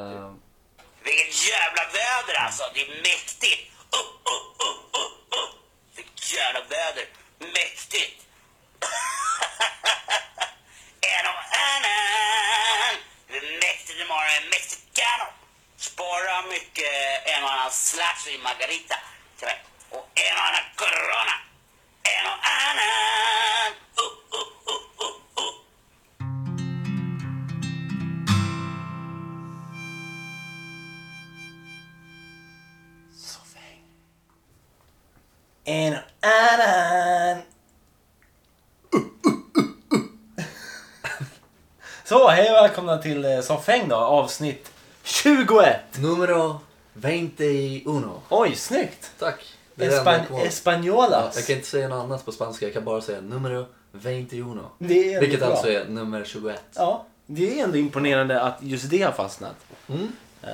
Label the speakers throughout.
Speaker 1: Eh,
Speaker 2: jävla väder alltså. Det är mäktigt. Uh, Upp, upp, upp, upp, upp. uh, Vilket jävla väder. Mäktigt. en och annan. Det är mäktigt imorgon. Det är mexicano. Spara mycket en och annan slash i margarita. till mig. Och en och annan corona. En Uh, och annan. Upp, upp, upp, upp, upp.
Speaker 3: En och annan. Så, hej och välkomna till eh, Soffhäng då, avsnitt 21.
Speaker 1: Numero 21.
Speaker 3: Oj, snyggt!
Speaker 1: Tack. Det är det enda jag kommer
Speaker 3: Espan-
Speaker 1: ihåg. Jag
Speaker 3: Espanolas.
Speaker 1: kan inte säga något annat på spanska, jag kan bara säga numero 21.
Speaker 3: Det är
Speaker 1: Vilket
Speaker 3: bra.
Speaker 1: alltså är nummer 21.
Speaker 3: Ja, det är ändå imponerande att just det har fastnat.
Speaker 1: Mm.
Speaker 3: Eh,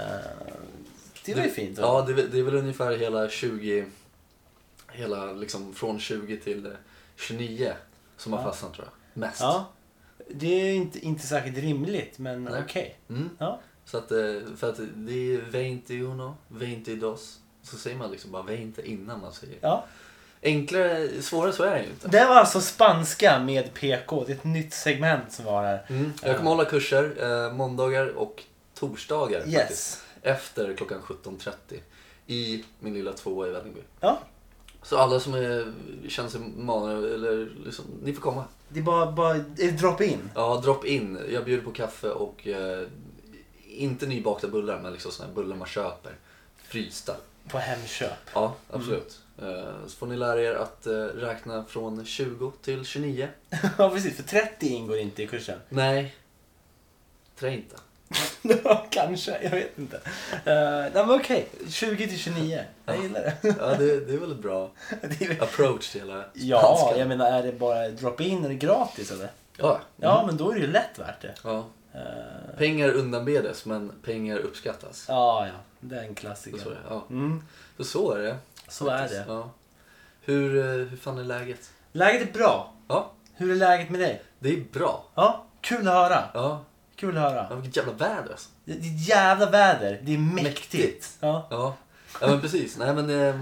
Speaker 3: det var ju fint. va?
Speaker 1: Ja, det är, väl- det är väl ungefär hela 20... Hela liksom från 20 till eh, 29 som har fastnat tror jag. Mest.
Speaker 3: ja. Det är ju inte, inte särskilt rimligt, men
Speaker 1: Nej.
Speaker 3: okej.
Speaker 1: Mm.
Speaker 3: Ja.
Speaker 1: Så att, eh, för att det är 21, 22. Så säger man liksom bara 20 innan man säger.
Speaker 3: Ja.
Speaker 1: Enklare, svårare så är det ju inte.
Speaker 3: Det var alltså spanska med PK. Det är ett nytt segment som var här.
Speaker 1: Mm. Jag kommer hålla kurser eh, måndagar och torsdagar
Speaker 3: Yes.
Speaker 1: faktiskt. Efter klockan 17.30 i min lilla tvåa i Vällingby.
Speaker 3: Ja,
Speaker 1: Så alla som är, känner sig manade, eller liksom, ni får komma.
Speaker 3: det är bara, bara eh, drop in.
Speaker 1: Ja, drop in. Jag bjuder på kaffe och eh, inte nybakta bullar, men liksom såna här bullar man köper. Frysta.
Speaker 3: På Hemköp.
Speaker 1: Ja, absolut. Eh, så får ni lära er att eh, räkna från 20 till 29.
Speaker 3: ja, precis. För 30 ingår inte i kursen.
Speaker 1: Nej, trä inte.
Speaker 3: Ja, Kanske, jag vet inte. Uh, nej, men okej. 20 till 29. Jag gillar det.
Speaker 1: Ja, det, det är väl ett bra
Speaker 3: det är...
Speaker 1: approach till hela
Speaker 3: Ja,
Speaker 1: spanskan.
Speaker 3: jag menar är det bara drop in? Är det gratis eller?
Speaker 1: Ja.
Speaker 3: Ja, men då är det ju lätt värt det.
Speaker 1: ja.
Speaker 3: Eh,
Speaker 1: Pengar undanbedes men pengar uppskattas.
Speaker 3: ja, ja. Det är en
Speaker 1: Så, är
Speaker 3: klassiker.
Speaker 1: det, ja.
Speaker 3: Mm,
Speaker 1: Så, så är det.
Speaker 3: så är
Speaker 1: faktiskt.
Speaker 3: det.
Speaker 1: Ja. Hur, eh, hur fan är läget?
Speaker 3: Läget är bra.
Speaker 1: Ja,
Speaker 3: Hur är läget med dig?
Speaker 1: det är bra.
Speaker 3: Ja, kul att höra.
Speaker 1: Ja,
Speaker 3: Kul att höra.
Speaker 1: ja vilket jävla väder alltså.
Speaker 3: Det det är jävla väder. Det är mäktigt.
Speaker 1: Mäktigt.
Speaker 3: Ja.
Speaker 1: Ja, ja men precis. Nej men eh,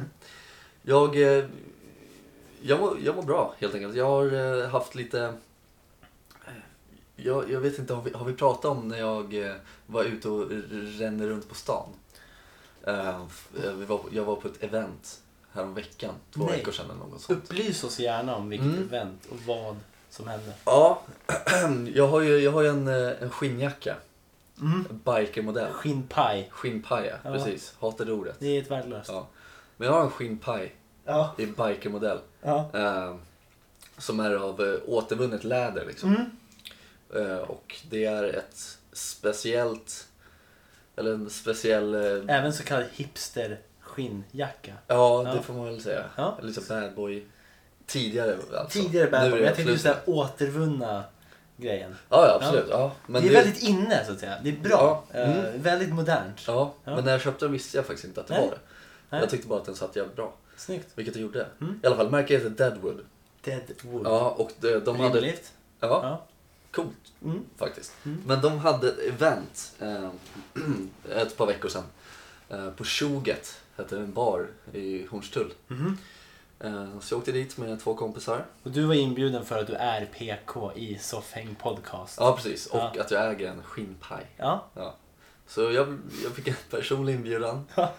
Speaker 1: jag, eh, jag, mår, jag mår bra helt enkelt. Jag har eh, haft lite... eh, Jag, jag vet inte, har vi, har vi pratat om när jag eh, var ute och r- rände runt på stan? Eh, f- eh, vi var, på- jag var på ett event häromveckan, två
Speaker 3: Nej.
Speaker 1: veckor sedan eller något sånt.
Speaker 3: Upplys oss gärna om vilket
Speaker 1: Mm.
Speaker 3: event och vad som hände.
Speaker 1: Ja, jag har ju, jag har ju en, eh, en skinnjacka. En Bikermodell.
Speaker 3: Skinnpaj.
Speaker 1: Skinnpaja,
Speaker 3: Mm. Ja.
Speaker 1: precis. Hatade ordet.
Speaker 3: Det är ett värdelöst.
Speaker 1: Ja. Men jag har en skinnpaj
Speaker 3: Ja.
Speaker 1: i bikermodell.
Speaker 3: ja.
Speaker 1: Eh, som är av eh, återvunnet läder. Liksom.
Speaker 3: Mm.
Speaker 1: Eh, och det är ett speciellt, eller en speciell, eh,
Speaker 3: Även så kallad hipster skinnjacka.
Speaker 1: ja
Speaker 3: Ja.
Speaker 1: det får man väl säga.
Speaker 3: Ja.
Speaker 1: Lite bad boy. Tidigare alltså.
Speaker 3: Tidigare bad
Speaker 1: Nu är
Speaker 3: boy.
Speaker 1: det
Speaker 3: Jag tänkte just den
Speaker 1: absolut-
Speaker 3: här återvunna grejen.
Speaker 1: Ja, ja absolut. Ja. men
Speaker 3: det är
Speaker 1: nu-
Speaker 3: väldigt inne så att säga. Det är bra.
Speaker 1: Ja.
Speaker 3: Eh,
Speaker 1: Mm.
Speaker 3: väldigt modernt.
Speaker 1: ja,
Speaker 3: Ja.
Speaker 1: men när jag köpte den visste jag faktiskt inte att det
Speaker 3: Nej.
Speaker 1: var det.
Speaker 3: Nej. Mm.
Speaker 1: Jag tyckte bara att den satt jävligt bra.
Speaker 3: Snyggt.
Speaker 1: Vilket det gjorde. I alla fall, märket heter Deadwood.
Speaker 3: Deadwood.
Speaker 1: Ja, och eh, de, de hade... Ja,
Speaker 3: Rimligt. Ja.
Speaker 1: coolt
Speaker 3: Mm.
Speaker 1: faktiskt. Men de hade ett event eh, ett par veckor sedan. Eh, på Tjoget, hette en bar i Hornstull.
Speaker 3: Mhm.
Speaker 1: Eh, så jag åkte dit med två kompisar.
Speaker 3: Och du var inbjuden för att du är PK i Soffhäng Podcast.
Speaker 1: Ja, precis. Och
Speaker 3: Ja.
Speaker 1: att jag äger en skinnpaj.
Speaker 3: Ja.
Speaker 1: Ja. Så jag, jag fick en personlig inbjudan.
Speaker 3: Ja.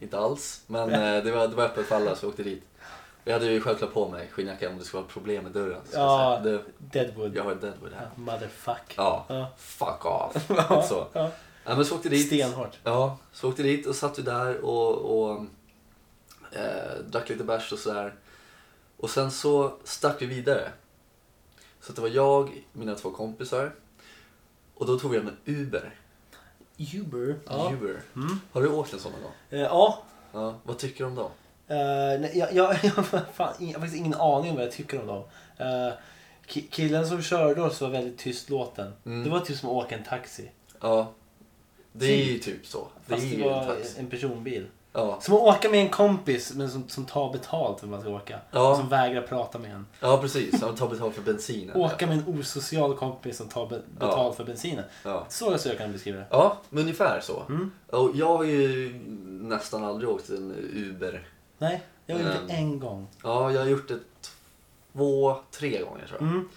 Speaker 1: Inte alls, men eh, det, var, det var öppet för alla så jag åkte dit. Jag hade ju självklart på mig skinnjacka om det skulle vara problem med dörren. Så
Speaker 3: Ja,
Speaker 1: jag, säga, du,
Speaker 3: Deadwood.
Speaker 1: jag har ett Deadwood här.
Speaker 3: Ja, Motherfuck.
Speaker 1: Ja.
Speaker 3: Ja.
Speaker 1: Fuck off. Lite så.
Speaker 3: Ja.
Speaker 1: Ja, men så åkte dit.
Speaker 3: Stenhårt.
Speaker 1: Ja, så åkte dit och satt vi där och, och eh, drack lite bärs och sådär. Och sen så stack vi vidare. Så att det var jag, mina två kompisar och då tog vi en Uber.
Speaker 3: Uber. Ja. Mm.
Speaker 1: Uber. Har du åkt en sån någon gång?
Speaker 3: Eh, ja.
Speaker 1: Ja, vad tycker du om dem?
Speaker 3: Eh, nej, jag, jag, jag, fan, ing- jag har faktiskt ingen aning om vad jag tycker om dem. Eh, ki- killen som körde oss var väldigt tystlåten.
Speaker 1: Mm.
Speaker 3: Det var typ som att åka en taxi.
Speaker 1: Ja, det är ju typ så. Det är
Speaker 3: Fast det,
Speaker 1: ju en
Speaker 3: var
Speaker 1: taxi.
Speaker 3: en personbil.
Speaker 1: Ja,
Speaker 3: Som att åka med en kompis men som, som tar betalt för att man ska åka.
Speaker 1: Ja.
Speaker 3: Och som vägrar prata med en.
Speaker 1: ja precis. Han tar betalt för bensinen.
Speaker 3: Åka med en osocial kompis som tar be- betalt för bensinen.
Speaker 1: Ja.
Speaker 3: Så jag kan beskriva det.
Speaker 1: Ja, men ungefär så.
Speaker 3: Mm.
Speaker 1: Och jag har ju nästan aldrig åkt en Uber.
Speaker 3: Nej, jag har gjort
Speaker 1: Mm.
Speaker 3: det en gång.
Speaker 1: Ja, jag har gjort det två, tre gånger tror jag.
Speaker 3: Mm.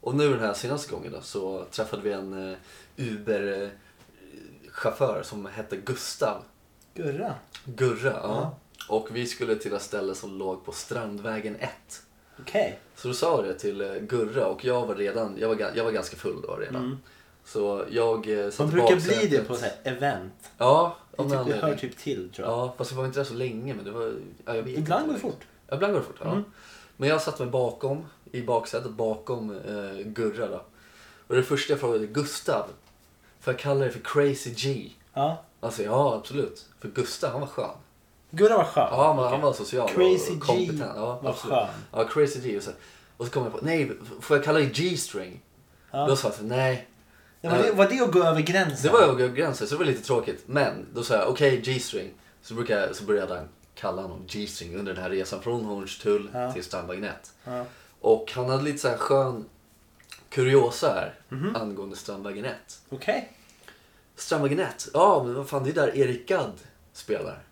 Speaker 1: Och nu den här senaste gången då, så träffade vi en eh, Uber-chaufför som hette Gustav.
Speaker 3: Gurra.
Speaker 1: Gurra.
Speaker 3: Ja.
Speaker 1: Ja. Och vi skulle till ett ställe som låg på Strandvägen 1.
Speaker 3: Okej.
Speaker 1: Så då sa jag det till eh, Gurra och jag var redan, jag var, ga- jag var ganska full då redan.
Speaker 3: Mm.
Speaker 1: Så jag eh, satt
Speaker 3: Man
Speaker 1: i
Speaker 3: brukar bli
Speaker 1: baksätet.
Speaker 3: det på så här event.
Speaker 1: Ja,
Speaker 3: Det,
Speaker 1: av
Speaker 3: är
Speaker 1: någon
Speaker 3: typ, det hör
Speaker 1: anledning.
Speaker 3: typ till tror jag.
Speaker 1: Ja, fast vi var inte där så länge. Men det var, ja, jag vet
Speaker 3: Ibland går
Speaker 1: inte.
Speaker 3: det fort. Mm.
Speaker 1: Ja, ibland går det fort. Ja. Men jag satt mig bakom, i baksätet bakom eh, Gurra då. Och det första jag frågade Gustav, för jag kallar det för Crazy G.
Speaker 3: Ja.
Speaker 1: Alltså ja, absolut. För Gustav, han var skön.
Speaker 3: Gurra var skön.
Speaker 1: Ja, men han var social
Speaker 3: Crazy G
Speaker 1: och kompetent. Ja,
Speaker 3: var
Speaker 1: absolut.
Speaker 3: skön.
Speaker 1: Ja, Crazy G. Och så, och så kom jag på, nej, får jag kalla dig G-string?
Speaker 3: Ja.
Speaker 1: Då sa jag, så, nej.
Speaker 3: Ja, var, det, var det att gå över gränsen?
Speaker 1: Det var jag och gränser, så det var lite tråkigt. Men då sa jag, okej G-string. Så, brukar jag, så började han kalla honom G-string under den här resan från Hornstull
Speaker 3: Ja.
Speaker 1: till Strandvägen 1.
Speaker 3: Ja.
Speaker 1: Och han hade lite så här skön kuriosa här
Speaker 3: Mhm.
Speaker 1: angående Strandvägen 1.
Speaker 3: Okej.
Speaker 1: Strandvägen 1, ja men vad fan det är där Erik Gadd spelar.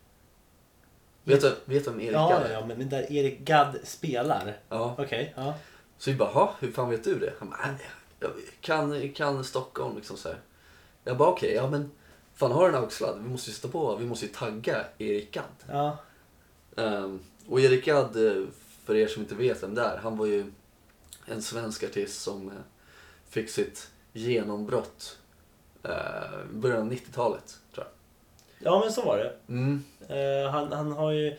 Speaker 1: Vet du, vet du vem Erik
Speaker 3: Ja,
Speaker 1: Gadd
Speaker 3: ja,
Speaker 1: är?
Speaker 3: ja, men men där Erik Gadd spelar.
Speaker 1: Ja.
Speaker 3: Okej, ja.
Speaker 1: Så vi bara, "Ha, hur fan vet du det? Han bara, "Nej, jag kan, kan Stockholm liksom så här. Jag bara, okej, ja men fan har du en axladd? Vi måste ju stå på, vi måste ju tagga Erik Gadd.
Speaker 3: ja.
Speaker 1: Ehm, och Erik Gadd, eh, för er som inte vet vem det är, han var ju en svensk artist som eh, fick sitt genombrott eh, i början av 90-talet, tror jag.
Speaker 3: Ja, men så var det.
Speaker 1: Mm.
Speaker 3: Eh, han, han har ju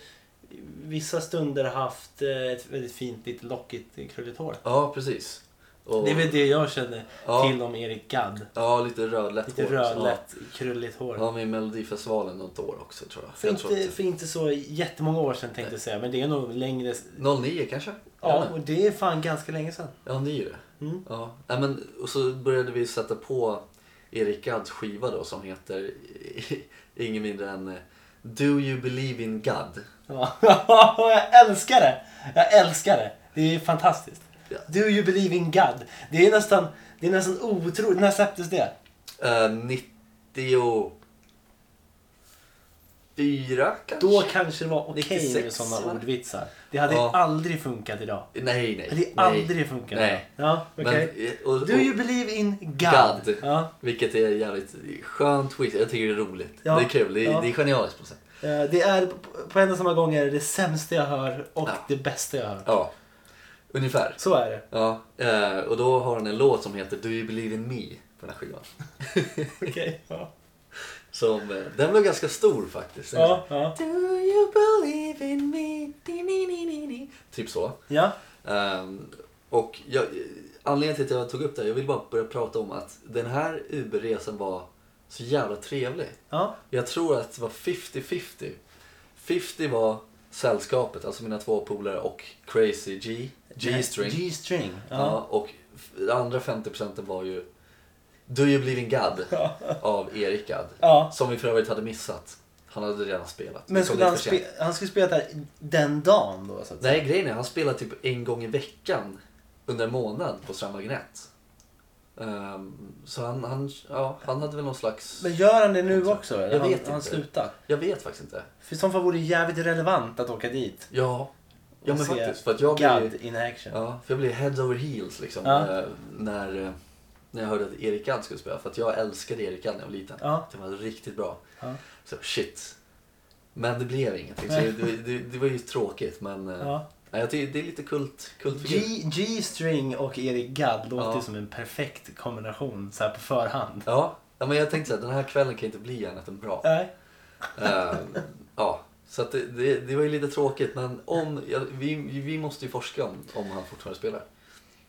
Speaker 3: vissa stunder haft eh, ett väldigt fint, lite lockigt, eh, krulligt hår.
Speaker 1: Ja, precis. Och,
Speaker 3: Det är väl det jag känner
Speaker 1: Ja.
Speaker 3: till om Erik Gadd.
Speaker 1: Ja, lite rödlätt
Speaker 3: Lite
Speaker 1: hår.
Speaker 3: rödlätt, krulligt hår.
Speaker 1: Ja, han var med i Melodifestivalen något år också, tror jag.
Speaker 3: För
Speaker 1: jag tror
Speaker 3: inte, för inte så jättemånga år sedan tänkte jag säga, men det är nog längre...
Speaker 1: att... 09 kanske?
Speaker 3: Ja, och det är fan ganska länge sedan.
Speaker 1: Ja, ni är det.
Speaker 3: Mm.
Speaker 1: Ja. Nej, men, och så började vi sätta på Erik Gadds skiva då som heter ingen mindre än eh, Do You Believe In God.
Speaker 3: Ja, jag älskar det! Jag älskar det! Det är fantastiskt.
Speaker 1: Ja.
Speaker 3: Do you believe in God? Det är nästan, det är nästan otroligt. När släpptes det?
Speaker 1: Eh, 94 kanske?
Speaker 3: Då kanske det var okej
Speaker 1: 96,
Speaker 3: med sådana
Speaker 1: va?
Speaker 3: ordvitsar. Det hade
Speaker 1: Ja.
Speaker 3: aldrig funkat idag.
Speaker 1: Nej, nej.
Speaker 3: Det hade
Speaker 1: nej.
Speaker 3: aldrig funkat idag.
Speaker 1: Nej.
Speaker 3: Ja, okej.
Speaker 1: Men, eh, och, och,
Speaker 3: Do you believe in God?
Speaker 1: God.
Speaker 3: Ja.
Speaker 1: Vilket är jävligt skönt skit. Jag tycker det är roligt.
Speaker 3: Ja.
Speaker 1: Det är kul. Det är,
Speaker 3: Ja.
Speaker 1: det är genialiskt på något sätt.
Speaker 3: Eh, Det är på- på en och samma gång är det, det sämsta jag hör och
Speaker 1: Ja.
Speaker 3: det bästa jag hör.
Speaker 1: Ja, ungefär.
Speaker 3: Så är det.
Speaker 1: Ja, eh, och då har han en låt som heter Do You Believe In Me på den här skivan.
Speaker 3: Okej. Ja.
Speaker 1: Som, eh, den var ganska stor faktiskt. Den
Speaker 3: Ja,
Speaker 1: är så
Speaker 3: ja.
Speaker 1: här, Do you believe in me? Di, ni, ni, ni, ni. Typ så.
Speaker 3: ja.
Speaker 1: Ehm, och jag, eh, anledningen till att jag tog upp det här, jag vill bara börja prata om att den här Uberresan var så jävla trevlig.
Speaker 3: ja.
Speaker 1: Jag tror att det var 50-50. 50 var sällskapet, alltså mina två polare och Crazy G, G-string.
Speaker 3: G-string. Ja.
Speaker 1: Ja, och f- det andra 50% var ju Do You Believe In God av Erik Gadd.
Speaker 3: Ja.
Speaker 1: Som vi för övrigt hade missat. Han hade redan spelat.
Speaker 3: Men
Speaker 1: Vi kom
Speaker 3: skulle
Speaker 1: dit
Speaker 3: han,
Speaker 1: för sent.
Speaker 3: spe- han skulle spela där den dagen då? Så att säga.
Speaker 1: Nej, grejen är han spelar typ en gång i veckan under en månad på Strandvägen 1. Ehm, så han, han, ja, han hade väl någon slags...
Speaker 3: Men gör han det nu också? Eller?
Speaker 1: Jag
Speaker 3: han,
Speaker 1: vet
Speaker 3: han
Speaker 1: inte.
Speaker 3: slutar.
Speaker 1: Jag vet faktiskt inte.
Speaker 3: För i så fall vore det jävligt relevant att åka dit.
Speaker 1: Ja, ja
Speaker 3: och
Speaker 1: men
Speaker 3: se
Speaker 1: faktiskt. För att jag
Speaker 3: God
Speaker 1: blev,
Speaker 3: in action.
Speaker 1: ja, för jag blev heads over heels liksom.
Speaker 3: Ja.
Speaker 1: eh, När, eh, när jag hörde att Erik Gadd skulle spela. För att jag älskade Erik Gadd när jag var liten.
Speaker 3: Ja.
Speaker 1: Det var riktigt bra.
Speaker 3: Ja.
Speaker 1: Så shit. Men det blev ingenting. Så det, det, det var ju tråkigt men eh,
Speaker 3: Ja.
Speaker 1: nej, jag tycker det är lite kult, kult
Speaker 3: G- G-string och Erik Gadd låter ju
Speaker 1: Ja.
Speaker 3: som en perfekt kombination så här på förhand.
Speaker 1: Ja. ja, men jag tänkte att den här kvällen kan inte bli annat än bra.
Speaker 3: Nej.
Speaker 1: Eh, ja, så att det, det, det var ju lite tråkigt men om, ja, vi, vi måste ju forska om, om han fortfarande spelar.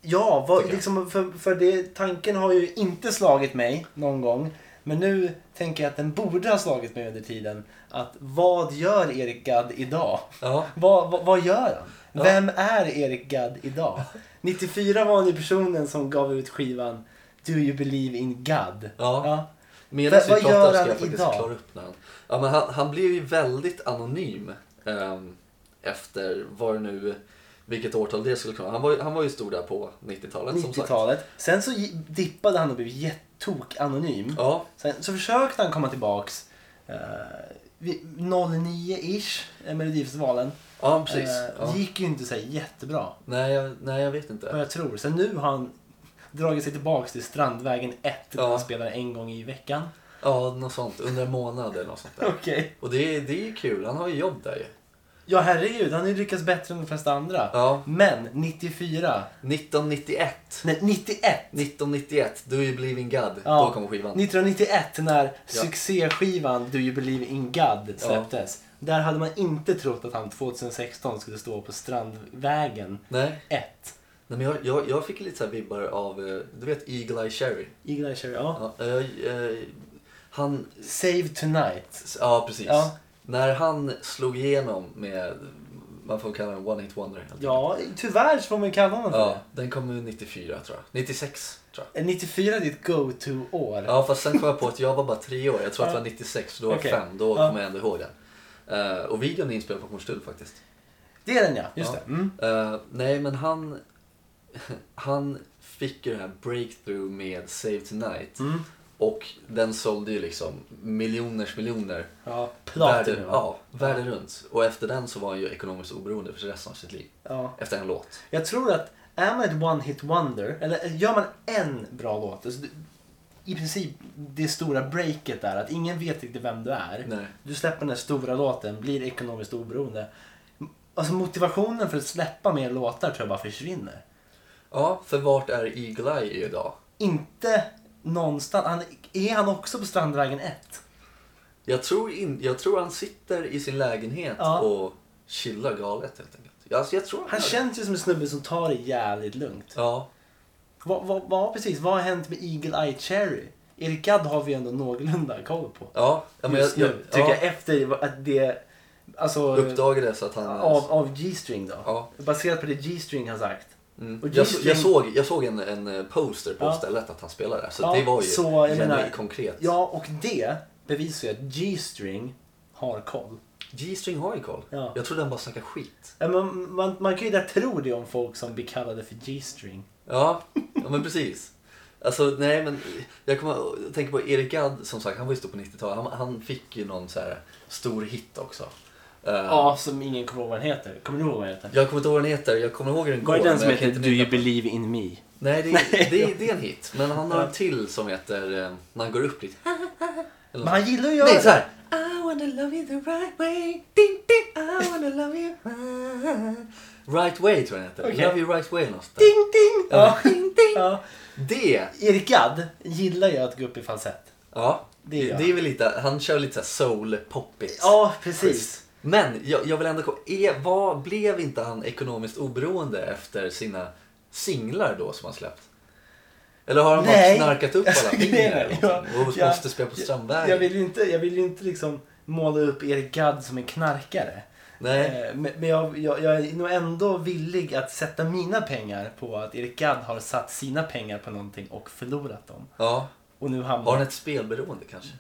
Speaker 3: Ja, vad,
Speaker 1: Tycker jag.
Speaker 3: liksom, för, för det, tanken har ju inte slagit mig någon gång. Men nu tänker jag att den borde ha slagit mig under tiden. Att vad gör Erik Gadd idag?
Speaker 1: Ja,
Speaker 3: Vad, vad, vad gör han?
Speaker 1: Ja.
Speaker 3: Vem är Erik Gadd idag? 94 var han ju personen som gav ut skivan Do You Believe In God?
Speaker 1: Ja. Medan
Speaker 3: Vad-
Speaker 1: vi
Speaker 3: vad
Speaker 1: pratar
Speaker 3: gör
Speaker 1: ska
Speaker 3: han
Speaker 1: jag faktiskt
Speaker 3: idag?
Speaker 1: klara upp när han... Ja, men han, han blev ju väldigt anonym ehm, efter vad det nu... Vilket årtal det skulle kunna Han var, ju- han var ju stor där på 90-talet som sagt.
Speaker 3: 90-talet. Sen så gi- dippade han och blev jättetok anonym.
Speaker 1: Ja,
Speaker 3: Sen så försökte han komma tillbaks eh, vid 09-ish, eh, Melodifestivalen.
Speaker 1: ja precis.
Speaker 3: Eh,
Speaker 1: ja.
Speaker 3: Gick ju inte så här jättebra,
Speaker 1: Nej, jag, nej, jag vet
Speaker 3: vad
Speaker 1: inte.
Speaker 3: jag tror. Sen nu har han dragit sig tillbaks till Strandvägen 1 där
Speaker 1: Ja.
Speaker 3: han spelar en gång i veckan.
Speaker 1: Ja, något sånt. Under en månad eller något sånt där.
Speaker 3: Okej.
Speaker 1: Och det, är- det är ju kul. Han har ju jobb där ju.
Speaker 3: Ja, herregud. Han har ju lyckats bättre än de flesta andra.
Speaker 1: Ja.
Speaker 3: Men 94,
Speaker 1: 1991.
Speaker 3: nej 91.
Speaker 1: 1991, Do You Believe In God.
Speaker 3: Ja.
Speaker 1: Då kommer skivan.
Speaker 3: 1991 när
Speaker 1: Ja.
Speaker 3: succéskivan Do You Believe In God släpptes. Där hade man inte trott att han 2016 skulle stå på Strandvägen
Speaker 1: Nej,
Speaker 3: 1.
Speaker 1: nej men jag, jag, jag fick lite så här vibbar av, eh, du vet Eagle Eye Cherry?
Speaker 3: Eagle Eye Cherry, ja.
Speaker 1: Ja, eh, eh, han,
Speaker 3: Save Tonight.
Speaker 1: ja precis.
Speaker 3: Ja.
Speaker 1: När han slog igenom med, man får kalla den One Hit Wonder. helt enkelt.
Speaker 3: Ja, tyvärr så får man kalla honom för
Speaker 1: ja. Den kom ju 94 tror jag. 96 tror jag.
Speaker 3: det. 94 är ditt go-to-år.
Speaker 1: Ja fast sen kom jag på att jag var bara tre år. Jag tror att det var 96, så då var jag
Speaker 3: Okej.
Speaker 1: fem. Då
Speaker 3: Ja.
Speaker 1: kommer jag ändå ihåg den. Eh, och videon är inspelad på Hornstull faktiskt.
Speaker 3: Det är den ja, just
Speaker 1: Ja.
Speaker 3: det. Mm.
Speaker 1: Eh, nej, men han, han fick ju det här breakthrough med Save Tonight.
Speaker 3: Mm.
Speaker 1: Och den sålde ju liksom miljoners miljoner.
Speaker 3: Ja,
Speaker 1: Världen,
Speaker 3: Platinum. Ja.
Speaker 1: ja, världen runt. Och efter den så var han ju ekonomiskt oberoende för resten av sitt liv.
Speaker 3: Ja.
Speaker 1: Efter en låt.
Speaker 3: Jag tror att är man ett one-hit wonder, eller eh, gör man en bra låt, alltså, du- i princip det stora breaket där, att ingen vet riktigt vem du är.
Speaker 1: Nej.
Speaker 3: Du släpper den här stora låten, blir ekonomiskt oberoende. Alltså motivationen för att släppa mer låtar tror jag bara försvinner.
Speaker 1: Ja, för vart är Eagle Eye idag?
Speaker 3: Inte någonstans. Han, är han också på Strandvägen 1?
Speaker 1: Jag tror, in, jag tror han sitter i sin lägenhet
Speaker 3: Ja.
Speaker 1: och chillar galet helt enkelt. Alltså, jag tror
Speaker 3: Han
Speaker 1: gör det.
Speaker 3: känns ju som en snubbe som tar det jävligt lugnt.
Speaker 1: Ja,
Speaker 3: Vad, vad, vad, precis, vad har hänt med Eagle Eye Cherry? Eric Gadd har vi ändå någorlunda koll på.
Speaker 1: ja. ja men
Speaker 3: just
Speaker 1: jag,
Speaker 3: nu.
Speaker 1: jag,
Speaker 3: tycker
Speaker 1: ja,
Speaker 3: jag efter att det... Alltså,
Speaker 1: Uppdagades att han...
Speaker 3: av, av G-string då.
Speaker 1: Ja.
Speaker 3: Baserat på det G-string har sagt.
Speaker 1: Mm.
Speaker 3: Och
Speaker 1: Jag, så-
Speaker 3: G-string-
Speaker 1: jag såg, jag såg en, en poster på
Speaker 3: Ja.
Speaker 1: stället att han spelade där, så
Speaker 3: Ja,
Speaker 1: det var ju
Speaker 3: så, jag
Speaker 1: genuint
Speaker 3: menar-
Speaker 1: konkret.
Speaker 3: Ja, och det bevisar ju att G-string har koll.
Speaker 1: G-string har ju koll.
Speaker 3: Ja.
Speaker 1: Jag trodde han bara snackade skit.
Speaker 3: Ja, Man, man, man kan ju där tro det om folk som blir kallade för G-string.
Speaker 1: Ja, ja men precis. Alltså, nej men jag kommer att tänka på Erik Gadd, som sagt, han var ju stor på 90-talet. Han, han fick ju någon så här stor hit också. Eh,
Speaker 3: Ja, som ingen kommer ihåg vad den heter. Kommer du ihåg vad den heter?
Speaker 1: Jag kommer inte ihåg vad den heter, jag kommer ihåg hur den går.
Speaker 3: Var det den
Speaker 1: men
Speaker 3: som
Speaker 1: jag kan
Speaker 3: heter
Speaker 1: inte
Speaker 3: Do You
Speaker 1: minnas-
Speaker 3: Believe In Me?
Speaker 1: Nej, det,
Speaker 3: Nej.
Speaker 1: är- det, är- det är en hit. Men han har
Speaker 3: Ja.
Speaker 1: en till som heter eh, När han går upp lite.
Speaker 3: Men han gillar ju att göra
Speaker 1: Nej, så
Speaker 3: det.
Speaker 1: här. I wanna love you the right way. Ding, ding. I wanna love you right. Right way tror jag den heter.
Speaker 3: Okej.
Speaker 1: Love you right way någonstans.
Speaker 3: Ding, ding! Ja.
Speaker 1: Ja. Ding, ding.
Speaker 3: Ja.
Speaker 1: Det,
Speaker 3: Erik Gadd gillar ju att gå upp i falsett.
Speaker 1: ja.
Speaker 3: Det
Speaker 1: Det,
Speaker 3: gör
Speaker 1: det är väl lite, han kör lite så här soul poppigt.
Speaker 3: Ja, precis.
Speaker 1: Men jag, jag vill ändå komma, är, vad blev inte han ekonomiskt oberoende efter sina singlar då som han släppt? Eller har han bara
Speaker 3: Nej.
Speaker 1: knarkat upp alla
Speaker 3: Alltså, grejen
Speaker 1: pengar
Speaker 3: är-
Speaker 1: eller någonting och
Speaker 3: jag-
Speaker 1: måste spela på
Speaker 3: jag-
Speaker 1: Strandvägen?
Speaker 3: Jag vill ju inte, jag vill ju inte liksom måla upp Erik Gadd som en knarkare.
Speaker 1: Nej,
Speaker 3: Eh, Men men jag, jag, jag är nog ändå villig att sätta mina pengar på att Erik Gadd har satt sina pengar på någonting och förlorat dem.
Speaker 1: ja.
Speaker 3: Och nu
Speaker 1: Har
Speaker 3: hamnar...
Speaker 1: han ett spelberoende kanske?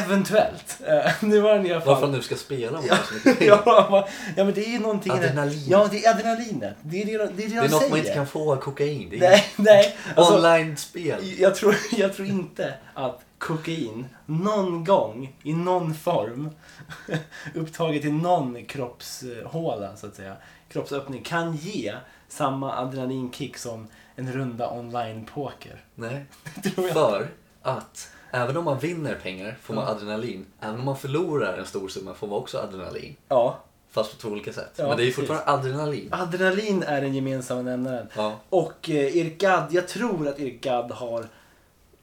Speaker 3: Eventuellt. Eh, Nu har han i alla
Speaker 1: Varför han
Speaker 3: fall...
Speaker 1: nu ska spela om han har så mycket pengar?
Speaker 3: Ja, va- ja, men det är ju någonting... i det-
Speaker 1: Adrenalin.
Speaker 3: Ja, det är adrenalinet. Det är det, de- det, är det,
Speaker 1: Det
Speaker 3: de
Speaker 1: är något
Speaker 3: säger.
Speaker 1: man inte kan få av kokain. Det är
Speaker 3: Nej, nej. Alltså,
Speaker 1: Online-spel.
Speaker 3: Jag tror, jag tror inte att kokain någon gång i någon form upptaget i någon kroppshåla så att säga, kroppsöppning kan ge samma adrenalinkick som en runda online-poker.
Speaker 1: Nej.
Speaker 3: tror jag.
Speaker 1: För att även om man vinner pengar får man adrenalin. Även om man förlorar en stor summa får man också adrenalin.
Speaker 3: Ja.
Speaker 1: Fast på två olika sätt.
Speaker 3: Ja,
Speaker 1: Men det är ju
Speaker 3: precis.
Speaker 1: fortfarande adrenalin.
Speaker 3: Adrenalin är den gemensamma nämnaren.
Speaker 1: Ja.
Speaker 3: Och eh, Erik Gadd, jag tror att Erik Gadd har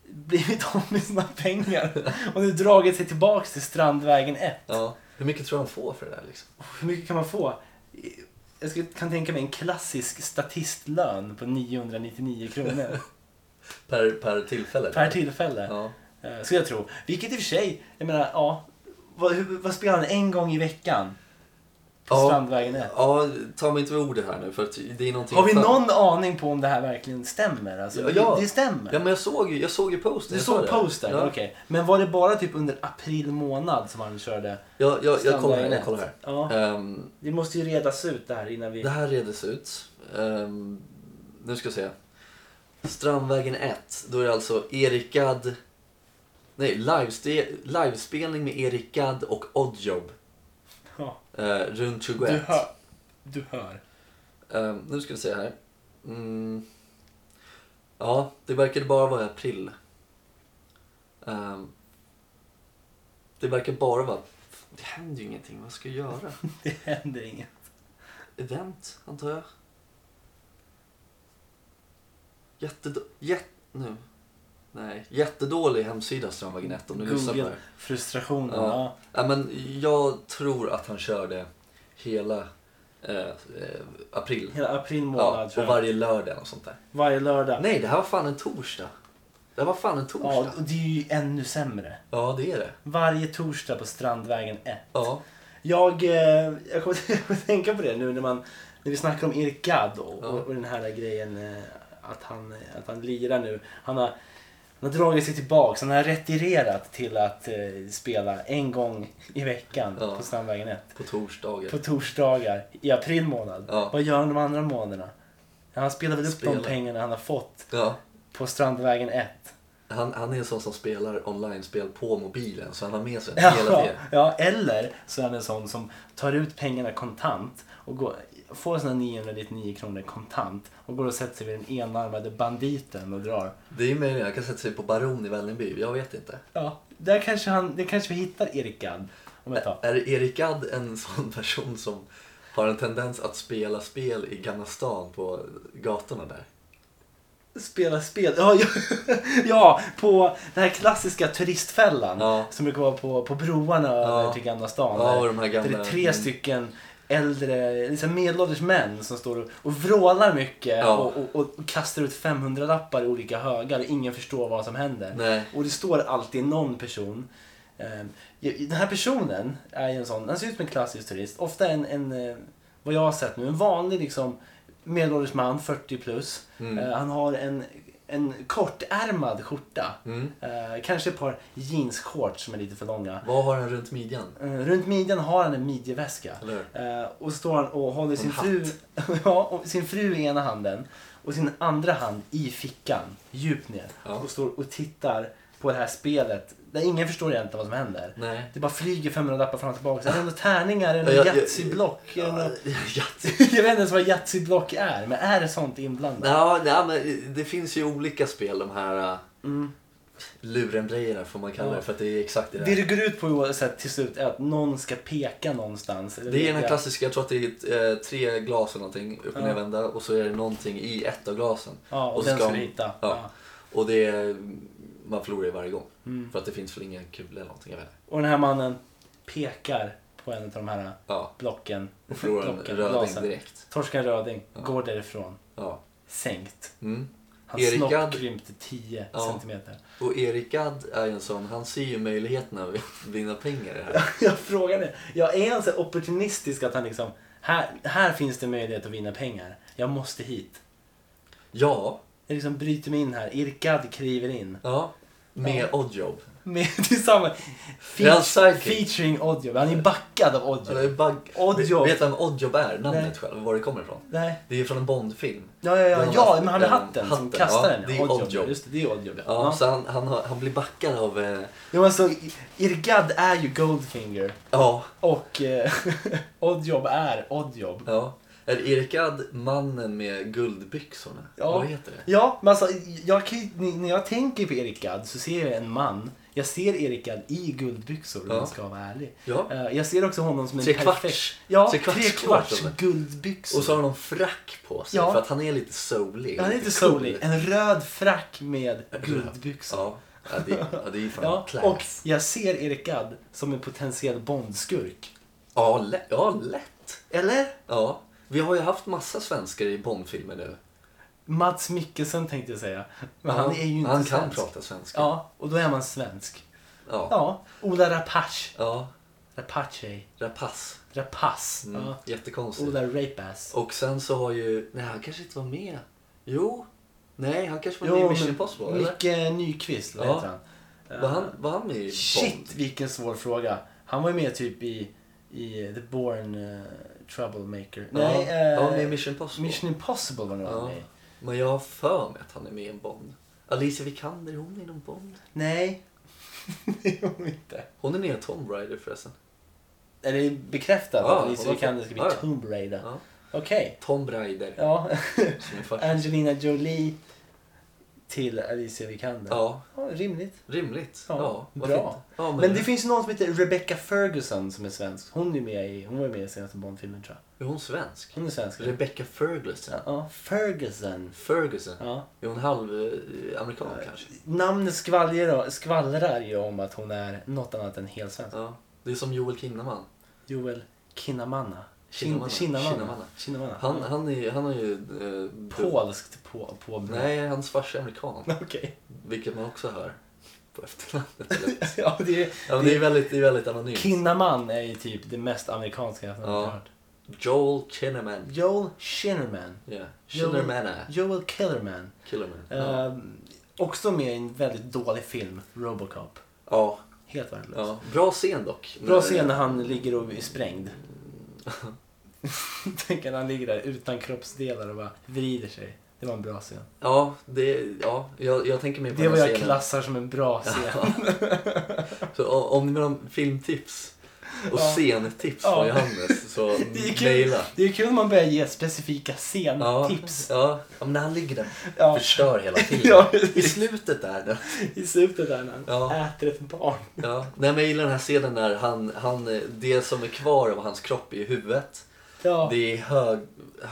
Speaker 3: blivit av med sina pengar och nu dragit sig tillbaks till Strandvägen 1.
Speaker 1: Ja. Hur mycket tror du han får för det där liksom?
Speaker 3: Hur mycket kan man få? Jag skulle, kan tänka mig en klassisk statistlön på 999 kronor
Speaker 1: Per, per tillfälle?
Speaker 3: per tillfälle.
Speaker 1: Ja.
Speaker 3: Eh, Skulle jag tro. Vilket i och för sig, jag menar, ja. Vad, hur, vad spelar han en gång i veckan?
Speaker 1: Ja.
Speaker 3: Strandvägen 1.
Speaker 1: Ja, ta mig inte med ordet här nu för att det är någonting...
Speaker 3: Har vi
Speaker 1: fan-
Speaker 3: någon aning på om det här verkligen stämmer? Alltså,
Speaker 1: Ja, ja.
Speaker 3: det, det stämmer.
Speaker 1: Ja men jag såg ju, jag såg ju posten.
Speaker 3: du
Speaker 1: jag
Speaker 3: såg
Speaker 1: sa det.
Speaker 3: postern,
Speaker 1: Ja.
Speaker 3: okej. Men var det bara typ under april månad som han körde?
Speaker 1: Jag, jag, jag kollar här,
Speaker 3: Strandvägen
Speaker 1: jag kollar här.
Speaker 3: ett? Ja.
Speaker 1: Ehm,
Speaker 3: Det måste ju redas ut det här innan vi...
Speaker 1: det här redes ut. Ehm, nu ska jag se. Strandvägen 1, då är det alltså Erik Gadd... Nej, liveste- livespelning med Erik Gadd och Oddjob.
Speaker 3: Ja.
Speaker 1: eh, runt 21.
Speaker 3: Du hör. Du hör.
Speaker 1: Ehm, nu ska vi se här. Mm. Ja, det verkade bara vara i april. Ehm. det verkar bara vara... Det händer ju ingenting. Vad ska jag göra?
Speaker 3: Det händer inget.
Speaker 1: Event, antar jag. Jättedå... Jätt... Nu. Nej, jättedålig hemsida Strandvägen 1 om du lyssnar på det
Speaker 3: Google
Speaker 1: här.
Speaker 3: frustrationen.
Speaker 1: Ja.
Speaker 3: Ja.
Speaker 1: Ja, men jag tror att han körde hela eh, eh, april.
Speaker 3: Hela april
Speaker 1: Ja,
Speaker 3: månad.
Speaker 1: och
Speaker 3: tror jag.
Speaker 1: varje lördag och sånt där.
Speaker 3: Varje lördag.
Speaker 1: Nej, det här var fan en torsdag. Det här var fan en torsdag.
Speaker 3: Ja, och det är ju ännu sämre.
Speaker 1: Ja, det är det.
Speaker 3: Varje torsdag på Strandvägen 1.
Speaker 1: Ja,
Speaker 3: Jag, eh, jag kommer att- jag kommer att tänka på det nu när, man, när vi snackar om Erik Gadd och,
Speaker 1: Ja.
Speaker 3: och, och den här grejen eh, att han, att han lirar nu. Han har, han har dragit sig tillbaks, han har retirerat till att eh, spela en gång i veckan
Speaker 1: Ja.
Speaker 3: på Strandvägen 1.
Speaker 1: på torsdagar.
Speaker 3: På torsdagar i april månad.
Speaker 1: Ja.
Speaker 3: Vad gör han de andra månaderna? Ja, Han spelar väl upp
Speaker 1: Spelar.
Speaker 3: de pengarna han har fått
Speaker 1: Ja,
Speaker 3: på Strandvägen 1.
Speaker 1: han, han är en sån som spelar online-spel på mobilen, så han har med sig
Speaker 3: Ja,
Speaker 1: hela tiden.
Speaker 3: ja, eller så är han en sån som tar ut pengarna kontant och går, får sina 999 kronor kontant och går och sätter sig vid den enarmade banditen och drar.
Speaker 1: Det är ju möjligt, han kan sätta sig på Baron i Vällingby, jag vet inte.
Speaker 3: Ja, där kanske, han, där kanske vi hittar Erik Gadd om ett tag.
Speaker 1: Är Erik Gadd en sån person som har en tendens att spela spel i Gamla stan på gatorna där?
Speaker 3: Spela spel, ja, ja, ja på den här klassiska turistfällan
Speaker 1: Ja.
Speaker 3: som brukar vara på, på broarna över till Gamla stan.
Speaker 1: Ja,
Speaker 3: där,
Speaker 1: och de här gamla-
Speaker 3: där det är tre
Speaker 1: mm.
Speaker 3: stycken äldre, liksom medelålders män som står och, och vrålar mycket
Speaker 1: Ja.
Speaker 3: och, och, och, och kastar ut 500-lappar i olika högar och ingen förstår vad som händer.
Speaker 1: Nej.
Speaker 3: Och det står alltid någon person. Ehm, ja, Den här personen är ju en sån, han ser ut som en klassisk turist. Ofta en, en eh, vad jag har sett nu, en vanlig liksom medelålders man, 40 plus. Eh, Han har en, en kortärmad skjorta. Eh, Kanske ett par jeansshorts som är lite för långa.
Speaker 1: Vad har han runt midjan?
Speaker 3: Eh, Runt midjan har han en midjeväska.
Speaker 1: Eller hur?
Speaker 3: Eh, och står han och håller sin
Speaker 1: hatt.
Speaker 3: fru, ja, och sin fru i ena handen och sin andra hand i fickan, djupt ner.
Speaker 1: Ja.
Speaker 3: Och står och tittar på det här spelet där ingen förstår egentligen vad som händer.
Speaker 1: Nej.
Speaker 3: Det bara flyger 500 lappar fram och tillbaka. Så Är det några tärningar? Är det
Speaker 1: Ja, jag-
Speaker 3: något
Speaker 1: jag-
Speaker 3: Yatzy-block? Är det
Speaker 1: Ja,
Speaker 3: något-
Speaker 1: ja,
Speaker 3: Jag vet inte ens vad Yatzy-block är, men är det sånt inblandat?
Speaker 1: Ja, nej, men det finns ju olika spel, de här mm. lurendrejerna får man kalla
Speaker 3: Ja.
Speaker 1: det för att det är exakt det
Speaker 3: Det
Speaker 1: där.
Speaker 3: det går ut på oavsett till slut är att någon ska peka någonstans. eller
Speaker 1: Det är den här
Speaker 3: vilka-
Speaker 1: klassiska, jag tror att det är eh, tre glas eller någonting upp och
Speaker 3: Ja.
Speaker 1: nervända och så är det någonting i ett av glasen.
Speaker 3: Ja, och
Speaker 1: så
Speaker 3: den ska
Speaker 1: man-
Speaker 3: du hitta.
Speaker 1: Ja.
Speaker 3: Ja.
Speaker 1: Och det är, man förlorar ju varje gång.
Speaker 3: Mm.
Speaker 1: För att det finns väl inga kulor eller någonting, jag vet inte.
Speaker 3: Och den här mannen pekar på en av de här
Speaker 1: Ja,
Speaker 3: blocken.
Speaker 1: och förlorar en
Speaker 3: Klockan,
Speaker 1: röding
Speaker 3: glasen.
Speaker 1: direkt.
Speaker 3: Torskar röding, går därifrån.
Speaker 1: Ja.
Speaker 3: Sänkt.
Speaker 1: Mm.
Speaker 3: Hans
Speaker 1: Erik
Speaker 3: snopp
Speaker 1: Gadd,
Speaker 3: krympte 10
Speaker 1: Ja.
Speaker 3: centimeter.
Speaker 1: och Erik Gadd är ju en sån, han ser ju möjligheterna att vinna pengar i det här.
Speaker 3: Jag frågar nu. Jag är alltså opportunistisk att han liksom, här, här finns det möjlighet att vinna pengar. Jag måste hit.
Speaker 1: Ja,
Speaker 3: Jag liksom bryter mig in här. Erik Gadd kliver in.
Speaker 1: ja. Med Oddjob.
Speaker 3: Med, tillsammans.
Speaker 1: Det är hans
Speaker 3: Feat-
Speaker 1: sidekick.
Speaker 3: featuring Oddjob. Han är backad av
Speaker 1: Ja, det är
Speaker 3: Oddjob.
Speaker 1: Bug...
Speaker 3: Oddjob.
Speaker 1: Vet du vem Oddjob är? Namnet
Speaker 3: Nej.
Speaker 1: själv, var det kommer ifrån?
Speaker 3: Nej.
Speaker 1: Det är från en Bondfilm.
Speaker 3: Ja, ja, ja,
Speaker 1: Den
Speaker 3: ja,
Speaker 1: här-
Speaker 3: men han med
Speaker 1: den-
Speaker 3: hatten, som
Speaker 1: hatten,
Speaker 3: kastar
Speaker 1: ja,
Speaker 3: den.
Speaker 1: det är Oddjob.
Speaker 3: Just det, det är Oddjob. Ja.
Speaker 1: Ja, så han, han, har- han blir backad av... Eh,
Speaker 3: Jo, alltså, Erik Gadd är ju Goldfinger.
Speaker 1: ja,
Speaker 3: Och eh, Oddjob är Oddjob.
Speaker 1: ja. Är Erik Gadd mannen med guldbyxorna?
Speaker 3: Ja.
Speaker 1: Vad heter det?
Speaker 3: Ja, men alltså, jag kan, ju- n- när jag tänker på Erik Gadd så ser jag en man. Jag ser Erik Gadd i guldbyxor om
Speaker 1: Ja.
Speaker 3: jag ska vara ärlig.
Speaker 1: Ja.
Speaker 3: Eh, Jag ser också honom som en
Speaker 1: Tre kvarts.
Speaker 3: perfekt... Ja,
Speaker 1: Tre kvarts
Speaker 3: trekvarts
Speaker 1: shorts, eller?
Speaker 3: guldbyxor.
Speaker 1: Och så har han någon frack på sig
Speaker 3: Ja.
Speaker 1: för att han är lite soulig.
Speaker 3: han är lite
Speaker 1: cool.
Speaker 3: solig. En röd frack med guldbyxor.
Speaker 1: Ja, ja, det, ja, det är ju fan
Speaker 3: Ja,
Speaker 1: class.
Speaker 3: och jag ser Erik Gadd som en potentiell Bondskurk.
Speaker 1: Ja, lä- ja, lätt.
Speaker 3: Eller?
Speaker 1: Ja. Vi har ju haft massa svenskar i Bondfilmer nu.
Speaker 3: Mats Mikkelsen tänkte jag säga. Men
Speaker 1: Ja,
Speaker 3: han är ju inte
Speaker 1: Han kan
Speaker 3: svensk.
Speaker 1: prata svenska.
Speaker 3: Ja, och då är man svensk.
Speaker 1: Ja.
Speaker 3: Ja, Ola Rapace.
Speaker 1: Ja.
Speaker 3: Rapace.
Speaker 1: Rapace.
Speaker 3: Rapace.
Speaker 1: Mm.
Speaker 3: Ja.
Speaker 1: Jättekonstigt.
Speaker 3: Ola Rapace.
Speaker 1: Och sen så har ju... Nej, han kanske inte var med. Jo. Nej, han kanske var
Speaker 3: Jo,
Speaker 1: med i
Speaker 3: men
Speaker 1: Mission Impossible, eller?
Speaker 3: Micke Nyqvist, vad
Speaker 1: Ja.
Speaker 3: heter han?
Speaker 1: Var han, var han med i Bond?
Speaker 3: Shit, vilken svår fråga. Han var ju med typ i, i The Born eh, Troublemaker. Nej,
Speaker 1: ja,
Speaker 3: eh,
Speaker 1: ja, med i Mission Impossible.
Speaker 3: Mission Impossible var nog han
Speaker 1: ja.
Speaker 3: med i.
Speaker 1: Men jag har för mig att han är med i en Bond. Alicia Vikander, hon är i någon Bond.
Speaker 3: Nej, det gjorde hon inte.
Speaker 1: Hon är med i Tomb Raider förresten.
Speaker 3: Är det bekräftat
Speaker 1: Ja,
Speaker 3: att Alicia
Speaker 1: varför?
Speaker 3: Vikander ska bli
Speaker 1: Ja, ja.
Speaker 3: Tomb Raider?
Speaker 1: Ja.
Speaker 3: Okej.
Speaker 1: Tomb Raider.
Speaker 3: Ja. Äh.
Speaker 1: Som är faktiskt...
Speaker 3: Angelina Jolie till Alicia Vikander.
Speaker 1: Ja,
Speaker 3: Ja, rimligt.
Speaker 1: rimligt.
Speaker 3: Ja,
Speaker 1: Ja, varför
Speaker 3: bra.
Speaker 1: inte? Ja,
Speaker 3: Men, det finns ju någon som heter Rebecca Ferguson som är svensk. Hon är med i, hon var med i senaste Bondfilmen tror jag.
Speaker 1: Är hon svensk?
Speaker 3: Hon är svensk.
Speaker 1: Rebecca Ferguson.
Speaker 3: ja, Ferguson.
Speaker 1: Ferguson?
Speaker 3: Ja.
Speaker 1: Är hon halv-amerikan kanske?
Speaker 3: Namnet skvallrar, skvallrar ju om att hon är något annat än helsvensk.
Speaker 1: Ja. Det är som Joel Kinnaman.
Speaker 3: Joel Kinnamanna.
Speaker 1: Kinnamanna.
Speaker 3: Kin- Kinnamanna.
Speaker 1: Kinnamanna.
Speaker 3: Kinnamanna.
Speaker 1: Han, han, är, han har ju... Eh,
Speaker 3: Polskt på, på
Speaker 1: Nej, hans farsa är amerikan.
Speaker 3: Okej.
Speaker 1: Vilket man också hör på efternamnet.
Speaker 3: ja, det är,
Speaker 1: ja, men det, är väldigt, det är väldigt anonymt.
Speaker 3: Kinnaman är ju typ det mest amerikanska jag har
Speaker 1: Ja.
Speaker 3: hört.
Speaker 1: Joel Kinnaman.
Speaker 3: Joel Shinnerman.
Speaker 1: Yeah. Kinnamanna.
Speaker 3: Joel Killerman.
Speaker 1: Killerman. Ja.
Speaker 3: Ehm, också med i en väldigt dålig film, Robocop.
Speaker 1: ja.
Speaker 3: Helt värdelös.
Speaker 1: ja. Bra scen dock.
Speaker 3: Bra scen när han ligger och är sprängd. Tänk att han ligger där utan kroppsdelar och bara vrider sig. Det var en bra scen.
Speaker 1: Ja, det, ja jag, jag tänker mer på
Speaker 3: Det
Speaker 1: den
Speaker 3: var
Speaker 1: här
Speaker 3: jag
Speaker 1: scenen.
Speaker 3: klassar som en bra scen.
Speaker 1: Så o- om ni vill ha filmtips och
Speaker 3: Ja.
Speaker 1: scentips
Speaker 3: Ja.
Speaker 1: från Johannes så
Speaker 3: Det är kul,
Speaker 1: mejla.
Speaker 3: det är kul när man börjar ge specifika
Speaker 1: Ja,
Speaker 3: scentips.
Speaker 1: ja. ja, men när han ligger där
Speaker 3: Ja.
Speaker 1: förstör hela tiden.
Speaker 3: Ja,
Speaker 1: I slutet där. när-
Speaker 3: I slutet där när han
Speaker 1: Ja.
Speaker 3: äter ett barn.
Speaker 1: Ja. Nej, men jag gillar den här scenen när han, han, eh, det som är kvar av hans kropp är huvudet.
Speaker 3: Ja.
Speaker 1: Det är hög,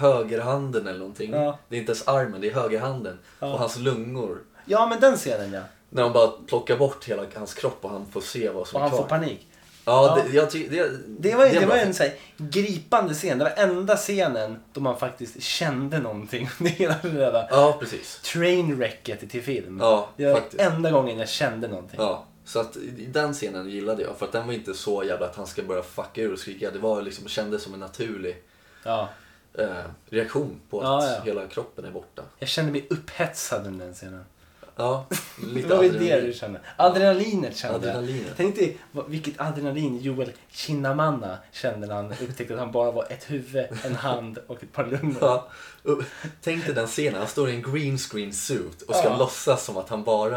Speaker 1: högerhanden eller någonting.
Speaker 3: Ja.
Speaker 1: Det är inte ens armen, det är högerhanden.
Speaker 3: Ja.
Speaker 1: Och hans lungor.
Speaker 3: ja, men den scenen ja.
Speaker 1: När de bara plockar bort hela hans kropp och han får se vad som
Speaker 3: Och
Speaker 1: är
Speaker 3: han
Speaker 1: kvar.
Speaker 3: får panik.
Speaker 1: Ja,
Speaker 3: Ja.
Speaker 1: Det, jag ty- det,
Speaker 3: Det var, ju,
Speaker 1: är
Speaker 3: det var
Speaker 1: bra.
Speaker 3: en så här, gripande scen. Det var enda scenen då man faktiskt kände någonting. Det hela det där
Speaker 1: Ja, precis.
Speaker 3: trainwrecket till film.
Speaker 1: Ja,
Speaker 3: det var
Speaker 1: faktiskt.
Speaker 3: enda gången jag kände någonting.
Speaker 1: Ja, så att i- den scenen gillade jag för att den var inte så jävla att han ska börja fucka ur och skrika. Det var liksom, kändes som en naturlig
Speaker 3: Ja.
Speaker 1: eh, reaktion på att
Speaker 3: Ja, ja.
Speaker 1: hela kroppen är borta.
Speaker 3: Jag kände mig upphetsad under den scenen.
Speaker 1: Ja,
Speaker 3: Det
Speaker 1: lite
Speaker 3: var väl det
Speaker 1: adrenalin.
Speaker 3: du kände? Adrenalinet kände
Speaker 1: Adrenalinet.
Speaker 3: jag. Tänk dig vad- vilket adrenalin Joel Kinnamanna kände när han upptäckte att han bara var ett huvud, en hand och ett par lungor.
Speaker 1: Ja. och Tänk dig den scenen, han står i en green screen suit och ska
Speaker 3: Ja.
Speaker 1: låtsas som att han bara,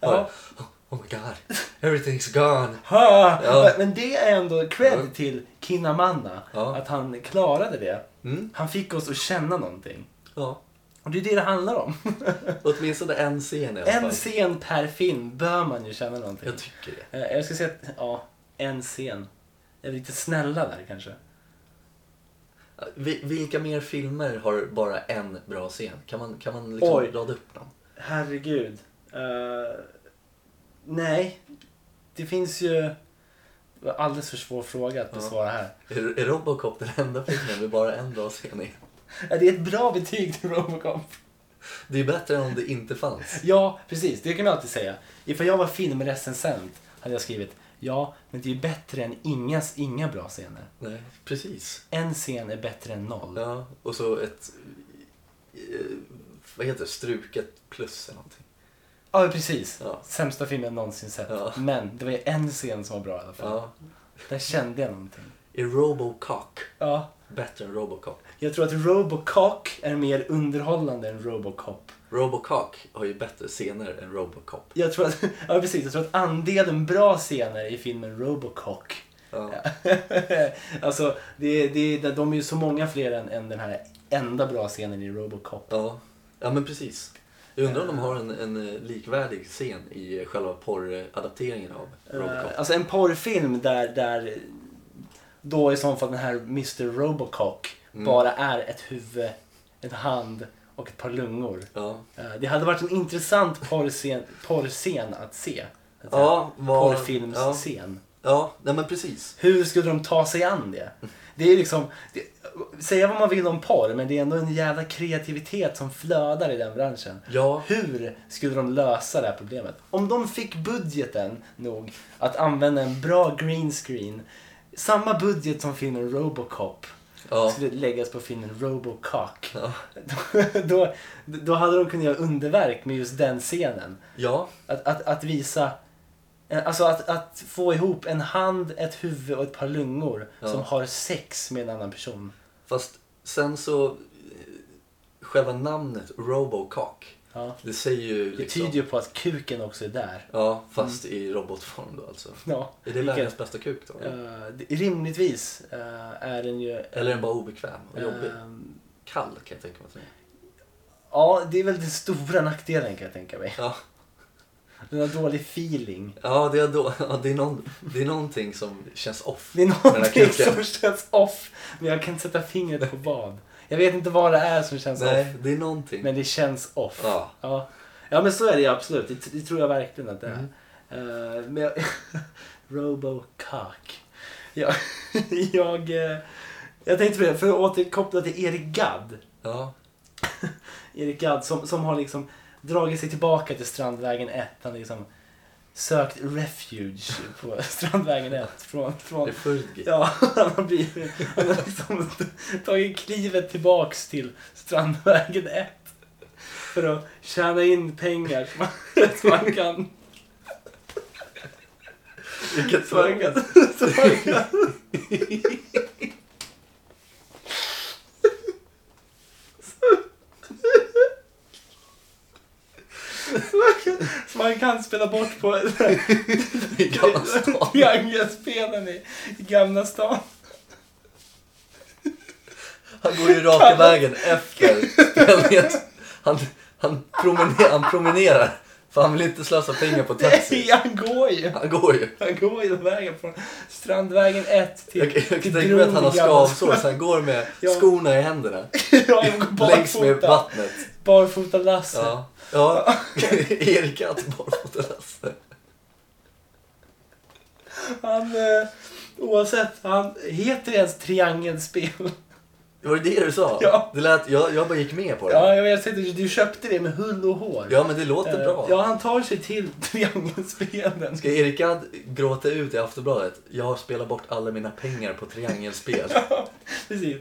Speaker 1: bara
Speaker 3: Ja.
Speaker 1: oh, oh my god, everything's gone.
Speaker 3: Ha!
Speaker 1: Ja.
Speaker 3: Men det är ändå cred
Speaker 1: Ja.
Speaker 3: till Kinnamanna.
Speaker 1: Ja.
Speaker 3: Att han klarade det.
Speaker 1: Mm.
Speaker 3: Han fick oss att känna någonting.
Speaker 1: Ja,
Speaker 3: Och det är det det handlar om.
Speaker 1: åtminstone en scen i alla
Speaker 3: en
Speaker 1: fall.
Speaker 3: scen per film bör man ju känna någonting.
Speaker 1: Jag tycker det.
Speaker 3: Eh, Jag ska säga att, ja, en scen. Jag är lite snälla där kanske.
Speaker 1: Vi- Vilka mer filmer har bara en bra scen? Kan man, kan man liksom
Speaker 3: Oj.
Speaker 1: rada upp någon?
Speaker 3: Herregud. Eh, nej, det finns ju... det var Alldeles för svår fråga att besvara här.
Speaker 1: Är, är Robocop den enda filmen med bara en bra scen i?
Speaker 3: Ja, Eh, Det är ett bra betyg till Robocop.
Speaker 1: Det är bättre än om det inte fanns.
Speaker 3: Ja, precis. Det kan jag alltid säga. Ifall jag var filmrecensent hade jag skrivit ja, men det är ju bättre än inga, inga bra scener.
Speaker 1: Nej, precis.
Speaker 3: En scen är bättre än noll.
Speaker 1: Ja, och så ett... eh, Vad heter det? Struket plus eller någonting.
Speaker 3: Ja, precis.
Speaker 1: Ja.
Speaker 3: Sämsta filmen jag någonsin sett.
Speaker 1: Ja.
Speaker 3: Men det var ju en scen som var bra i alla fall.
Speaker 1: Ja.
Speaker 3: Där kände jag någonting.
Speaker 1: Är Robocock
Speaker 3: Ja.
Speaker 1: bättre än Robocop?
Speaker 3: Jag tror att Robocock är mer underhållande än Robocop.
Speaker 1: Robocock har ju bättre scener än Robocop.
Speaker 3: Jag tror att, ja, precis, jag tror att andelen bra scener i filmen Robocock.
Speaker 1: Ja.
Speaker 3: alltså, det, det, de är ju så många fler än, än den här enda bra scenen i Robocop.
Speaker 1: Ja, ja men precis. Jag undrar om de har en, en eh, likvärdig scen i själva porradapteringen av Robocop.
Speaker 3: Eh, Alltså en porrfilm där, där då i så fall den här Mr Robocock
Speaker 1: Mm.
Speaker 3: bara är ett huvud, en hand och ett par lungor.
Speaker 1: Ja.
Speaker 3: Eh, Det hade varit en intressant porrscen, porrscen att se. Att säga.
Speaker 1: Ja, vad- ja.
Speaker 3: Porrfilmsscen.
Speaker 1: Ja, nej men precis.
Speaker 3: Hur skulle de ta sig an det? Det är liksom, det, säga vad man vill om porr men det är ändå en jävla kreativitet som flödar i den branschen.
Speaker 1: Ja.
Speaker 3: Hur skulle de lösa det här problemet? Om de fick budgeten nog att använda en bra green screen Samma budget som filmen Robocop
Speaker 1: Ja.
Speaker 3: skulle läggas på filmen Robocock.
Speaker 1: Ja.
Speaker 3: då, då hade de kunnat göra underverk med just den scenen.
Speaker 1: ja.
Speaker 3: Att, att, att visa... Alltså att, att få ihop en hand, ett huvud och ett par lungor
Speaker 1: Ja.
Speaker 3: som har sex med en annan person.
Speaker 1: Fast sen så... eh, Själva namnet Robocock.
Speaker 3: Ja.
Speaker 1: Det säger ju... liksom-
Speaker 3: Det tyder ju på att kuken också är där.
Speaker 1: Ja, fast i robotform då alltså.
Speaker 3: Ja,
Speaker 1: Är det
Speaker 3: vilket,
Speaker 1: världens bästa kuk då?
Speaker 3: eh, det- rimligtvis eh, är den ju...
Speaker 1: Eller är den bara obekväm och jobbig?
Speaker 3: ehm,
Speaker 1: Kall kan jag tänka mig att den är.
Speaker 3: ja, det är väl den stora nackdelen kan jag tänka mig.
Speaker 1: Ja,
Speaker 3: Den har dålig feeling.
Speaker 1: ja, det, är då, ja det, är någon, det är någonting som känns off.
Speaker 3: Det är
Speaker 1: den här
Speaker 3: någonting
Speaker 1: kuken.
Speaker 3: som känns off, men jag kan inte sätta fingret på vad. Jag vet inte vad det är som känns off,
Speaker 1: Nej, det är någonting.
Speaker 3: men det känns off.
Speaker 1: Ja.
Speaker 3: Ja, ja men så är det ju absolut. Det, det tror jag verkligen att det är. Eh, men jag... Robocock. Jag, jag, eh, jag tänkte på det, för att återkoppla till Erik Gadd.
Speaker 1: Ja,
Speaker 3: Erik Gadd som, som har liksom dragit sig tillbaka till Strandvägen 1. Han har liksom sökt refuge på Strandvägen 1. Från,
Speaker 1: det
Speaker 3: från,
Speaker 1: är Fergie.
Speaker 3: ja, han har, blivit, han har liksom tagit klivet tillbaks till Strandvägen 1. För att tjäna in pengar som man, som man kan...
Speaker 1: Vilket
Speaker 3: Som man
Speaker 1: tråkigt.
Speaker 3: kan, som man kan som man kan spela bort på
Speaker 1: I Gamla stan.
Speaker 3: Triangelspelen i i Gamla stan.
Speaker 1: Han går ju raka vägen efter spelningen. Han, han, promener, han promenerar, för han vill inte slösa pengar på taxi.
Speaker 3: Nej, han går ju.
Speaker 1: Han går ju.
Speaker 3: Han går ju vägen från Strandvägen 1 till,
Speaker 1: Jag, jag kan
Speaker 3: till
Speaker 1: tänka mig att han har
Speaker 3: i Gamla
Speaker 1: skavsår så han går med
Speaker 3: Ja.
Speaker 1: skorna i händerna.
Speaker 3: stan. ja, han går
Speaker 1: Längs med
Speaker 3: barfota.
Speaker 1: vattnet.
Speaker 3: Barfota Lasse.
Speaker 1: Ja, ja. Erik alltså. Attborg mot Lasse.
Speaker 3: Han, eh, oavsett, han heter ens triangelspel.
Speaker 1: Var det det du sa?
Speaker 3: Ja.
Speaker 1: Det lät, jag, jag bara gick med på det.
Speaker 3: Ja, jag vet inte, du köpte det med hull och hår.
Speaker 1: Ja, men det låter
Speaker 3: Eh,
Speaker 1: bra.
Speaker 3: Ja, han tar sig till triangelspelen.
Speaker 1: Ska Erik Gadd gråta ut i Aftonbladet? Jag har spelat bort alla mina pengar på triangelspel.
Speaker 3: Precis.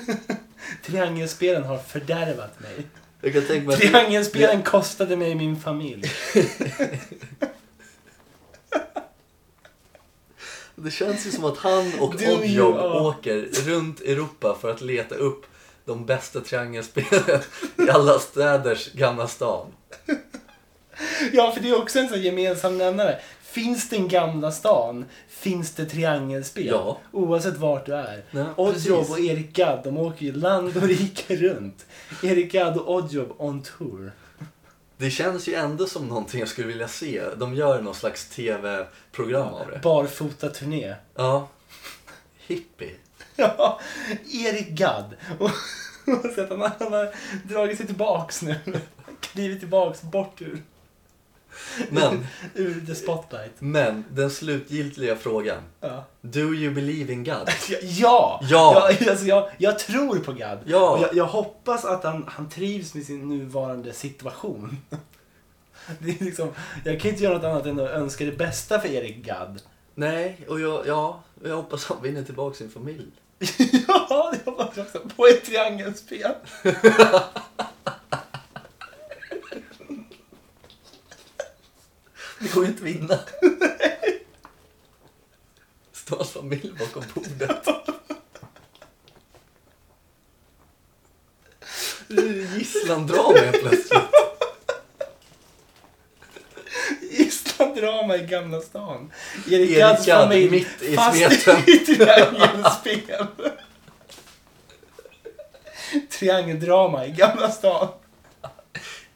Speaker 3: Triangelspelen har fördärvat mig.
Speaker 1: Jag kan tänka mig att-
Speaker 3: Triangelspelen kostade mig min familj.
Speaker 1: Det känns ju som att han och
Speaker 3: Du,
Speaker 1: Oddjob
Speaker 3: ja.
Speaker 1: åker runt Europa för att leta upp de bästa triangelspelen i alla städers gamla stan.
Speaker 3: Ja, för det är också en sån gemensam nämnare. Finns den gamla stan, finns det triangelspel.
Speaker 1: Ja.
Speaker 3: Oavsett vart du är.
Speaker 1: Nej,
Speaker 3: Oddjob
Speaker 1: precis.
Speaker 3: och Erik Gadd, de åker ju land och rike runt. Erik Gadd och Oddjob on tour.
Speaker 1: Det känns ju ändå som någonting jag skulle vilja se. De gör någon slags tv-program av det.
Speaker 3: Barfota-turné.
Speaker 1: Ja. Hippie.
Speaker 3: Ja, Erik Gadd. Och, och så att han, han har dragit sig tillbaks nu. Klivit tillbaks bort ur,
Speaker 1: Men,
Speaker 3: ur the spotlight.
Speaker 1: men, den slutgiltiga frågan.
Speaker 3: Ja.
Speaker 1: Do you believe in God?
Speaker 3: Ja!
Speaker 1: Ja.
Speaker 3: Jag, alltså jag, jag tror på Gadd.
Speaker 1: Ja.
Speaker 3: Och Jag, jag hoppas att han, han trivs med sin nuvarande situation. Det är liksom, jag kan inte göra något annat än att önska det bästa för Erik Gadd.
Speaker 1: Nej, och jag, ja, jag hoppas han vinner tillbaka sin familj.
Speaker 3: ja, det hoppas jag också. På ett triangelspel.
Speaker 1: Det går ju inte att vinna. Står hans familj bakom bordet? Det är ju gisslandrama helt plötsligt.
Speaker 3: Islanddrama i Gamla stan. Erik,
Speaker 1: Erik
Speaker 3: Gadds
Speaker 1: Gadd
Speaker 3: familj
Speaker 1: mitt i
Speaker 3: fast
Speaker 1: smeten.
Speaker 3: i triangelspel. Triangeldrama i Gamla stan.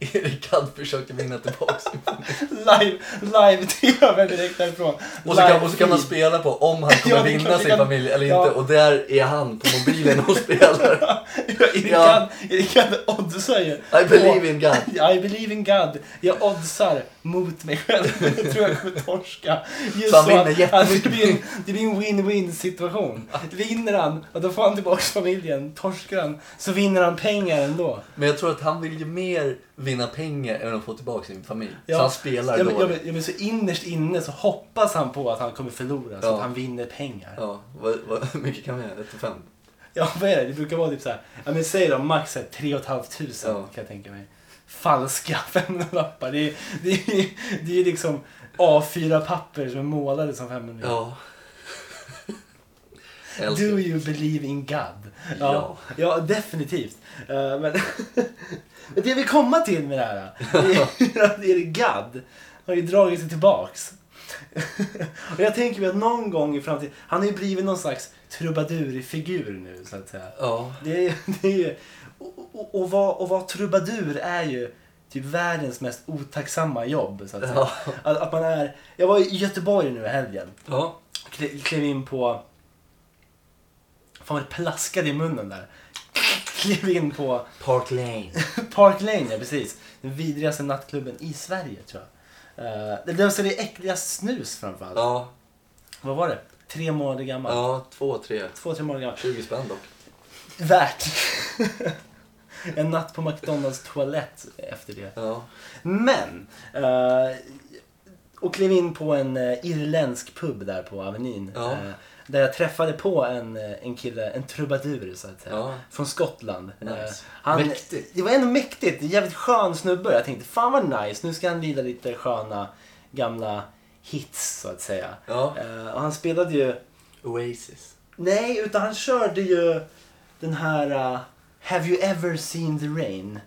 Speaker 1: Erik Gadd försökte vinna tillbaka sin familj.
Speaker 3: Live, live-tv direkt därifrån.
Speaker 1: Och så, kan,
Speaker 3: Live
Speaker 1: och så kan man
Speaker 3: feed.
Speaker 1: spela på om han
Speaker 3: Ja,
Speaker 1: kommer
Speaker 3: det är
Speaker 1: vinna
Speaker 3: klart, det
Speaker 1: sin
Speaker 3: kan-
Speaker 1: familj eller
Speaker 3: ja.
Speaker 1: inte. Och där är han på mobilen och spelar.
Speaker 3: Erik
Speaker 1: Ja.
Speaker 3: Gadd, Erik Gadd oddsar ju.
Speaker 1: I believe in God.
Speaker 3: I believe in God. Jag oddsar mot mig själv. Jag tror jag kommer torska. Just
Speaker 1: Så han vinner
Speaker 3: att, att det,
Speaker 1: jättemycket.
Speaker 3: blir en, det blir en win-win situation. Vinner han, och då får han tillbaka familjen. Torskar han, så vinner han pengar ändå.
Speaker 1: Men jag tror att han vill ju mer vinna pengar än att få tillbaka sin familj.
Speaker 3: Ja.
Speaker 1: Så han spelar
Speaker 3: ja, men,
Speaker 1: dåligt.
Speaker 3: ja, men, ja, men så innerst inne så hoppas han på att han kommer förlora så
Speaker 1: Ja.
Speaker 3: att han vinner pengar. Ja,
Speaker 1: Ja, vad, vad, hur mycket kan vi göra? 1 5?
Speaker 3: vad är det? Det brukar vara typ så här, ja men säg då max så här 3 500
Speaker 1: Ja.
Speaker 3: kan jag tänka mig. Falska 500-lappar. Det är ju det är, ju- det är ju liksom A4-papper som är målade som 500
Speaker 1: Ja. Jag älskar
Speaker 3: Do
Speaker 1: det.
Speaker 3: you believe in God?
Speaker 1: Ja.
Speaker 3: ja definitivt. Eh, men men det vi komma till med det här det är att det är God har ju dragit sig tillbaks. och jag tänker mig att någon gång i framtiden, han har ju blivit någon slags trubadurfigur nu så att säga.
Speaker 1: Ja.
Speaker 3: Det är, det är ju, och, och, och, vad, och vad trubadur är ju typ världens mest otacksamma jobb så att säga.
Speaker 1: Ja.
Speaker 3: Att, att man är, jag var i Göteborg nu i helgen
Speaker 1: Ja.
Speaker 3: kle- klev in på... Fan vad det plaskade i munnen där. Klev in på
Speaker 1: Park Lane.
Speaker 3: Park Lane, ja precis. Den vidrigaste nattklubben i Sverige tror jag. Eh, Det var så det äckligast snus framförallt.
Speaker 1: Ja.
Speaker 3: Vad var det? Tre månader gammal.
Speaker 1: Ja, två, tre.
Speaker 3: Två, tre månader gammal.
Speaker 1: 20 spänn dock.
Speaker 3: Värt! en natt på McDonalds toalett efter det.
Speaker 1: Ja.
Speaker 3: Men! eh, och klev in på en eh, irländsk pub där på Avenyn.
Speaker 1: Ja.
Speaker 3: eh, där jag träffade på en, eh, en kille, en trubadur så att säga.
Speaker 1: Ja.
Speaker 3: Från Skottland.
Speaker 1: Nice.
Speaker 3: Eh, han,
Speaker 1: Mäktigt.
Speaker 3: Det var ändå mäktigt. En jävligt skön snubbe. Jag tänkte fan vad nice. Nu ska han lida lite sköna gamla hits så att säga.
Speaker 1: Ja.
Speaker 3: Eh, och han spelade ju...
Speaker 1: Oasis.
Speaker 3: Nej, utan han körde ju den här eh, Have you ever seen the rain?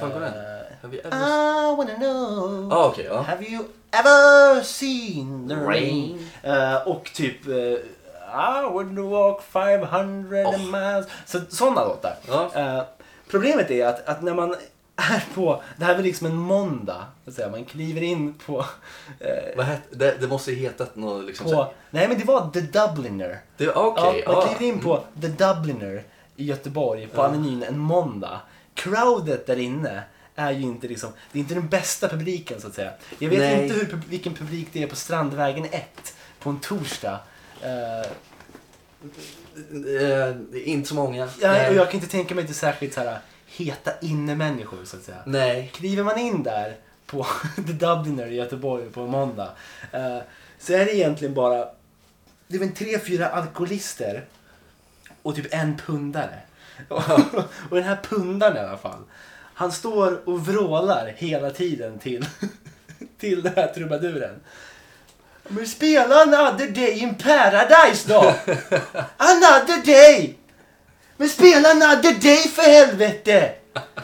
Speaker 1: fan går den?
Speaker 3: Eh,
Speaker 1: Have you ever...
Speaker 3: i wanna know.
Speaker 1: Ah, okej, ja.
Speaker 3: Have you ever seen the rain?
Speaker 1: Rain.
Speaker 3: Eh, och typ eh, I would walk 500
Speaker 1: Oh.
Speaker 3: miles. Så, sådana låtar.
Speaker 1: Ja.
Speaker 3: Eh, problemet är att, att när man är på, det här är liksom en måndag, så att säga, man kliver in på, eh,
Speaker 1: Vad hette... Det, det måste ju hetat något liksom...
Speaker 3: på, nej men det var The Dubliner.
Speaker 1: Det- Okej,
Speaker 3: ja, man
Speaker 1: ja.
Speaker 3: kliver in på The Dubliner i Göteborg på Avenyn en måndag. Crowdet där inne är ju inte liksom, det är inte den bästa publiken så att säga. Jag vet
Speaker 1: Nej.
Speaker 3: inte hur, pub- vilken publik det är på Strandvägen 1 på en torsdag. Eh,
Speaker 1: Eh, det är inte så många.
Speaker 3: ja,
Speaker 1: Nej.
Speaker 3: och jag kan inte tänka mig till särskilt så här, heta inne-människor så att säga.
Speaker 1: Nej.
Speaker 3: Kliver man in där på The Dubliner i Göteborg på en måndag eh, så är det egentligen bara det är väl tre, fyra alkoholister och typ en pundare. och den här pundaren i alla fall. Han står och vrålar hela tiden till, till den här trubaduren. Men spela Another Day in Paradise då! Another Day! Men spela Another Day för helvete!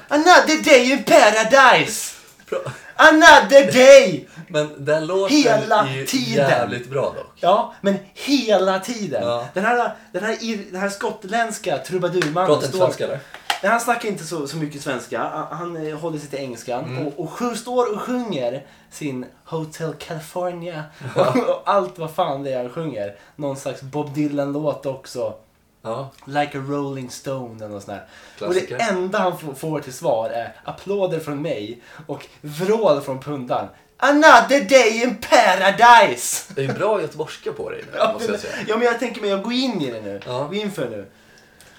Speaker 3: Another Day in Paradise!
Speaker 1: Bra.
Speaker 3: Another Day!
Speaker 1: Men den låten
Speaker 3: Hela
Speaker 1: är ju
Speaker 3: tiden.
Speaker 1: jävligt bra dock.
Speaker 3: Ja, men hela tiden.
Speaker 1: Ja.
Speaker 3: Den, här, den, här, ir- den här skottländska trubadurmannen
Speaker 1: Pratar inte svenska eller?
Speaker 3: Nej, han snackar inte så, så mycket svenska. Han, han eh, håller sig till engelskan.
Speaker 1: Mm.
Speaker 3: Och, och sju, står och sjunger sin Hotel California. Och, och allt vad fan det är han sjunger. Någon slags Bob Dylan-låt också.
Speaker 1: Ja.
Speaker 3: Like a Rolling Stone eller något sånt där.
Speaker 1: Klassiker.
Speaker 3: Och det enda han f- får till svar är applåder från mig och vrål från pundan. Another day in paradise!
Speaker 1: Det är ju bra göteborgska på dig nu, måste jag säga.
Speaker 3: Ja men jag tänker mig att gå in i det nu.
Speaker 1: Ja.
Speaker 3: Gå in för det nu.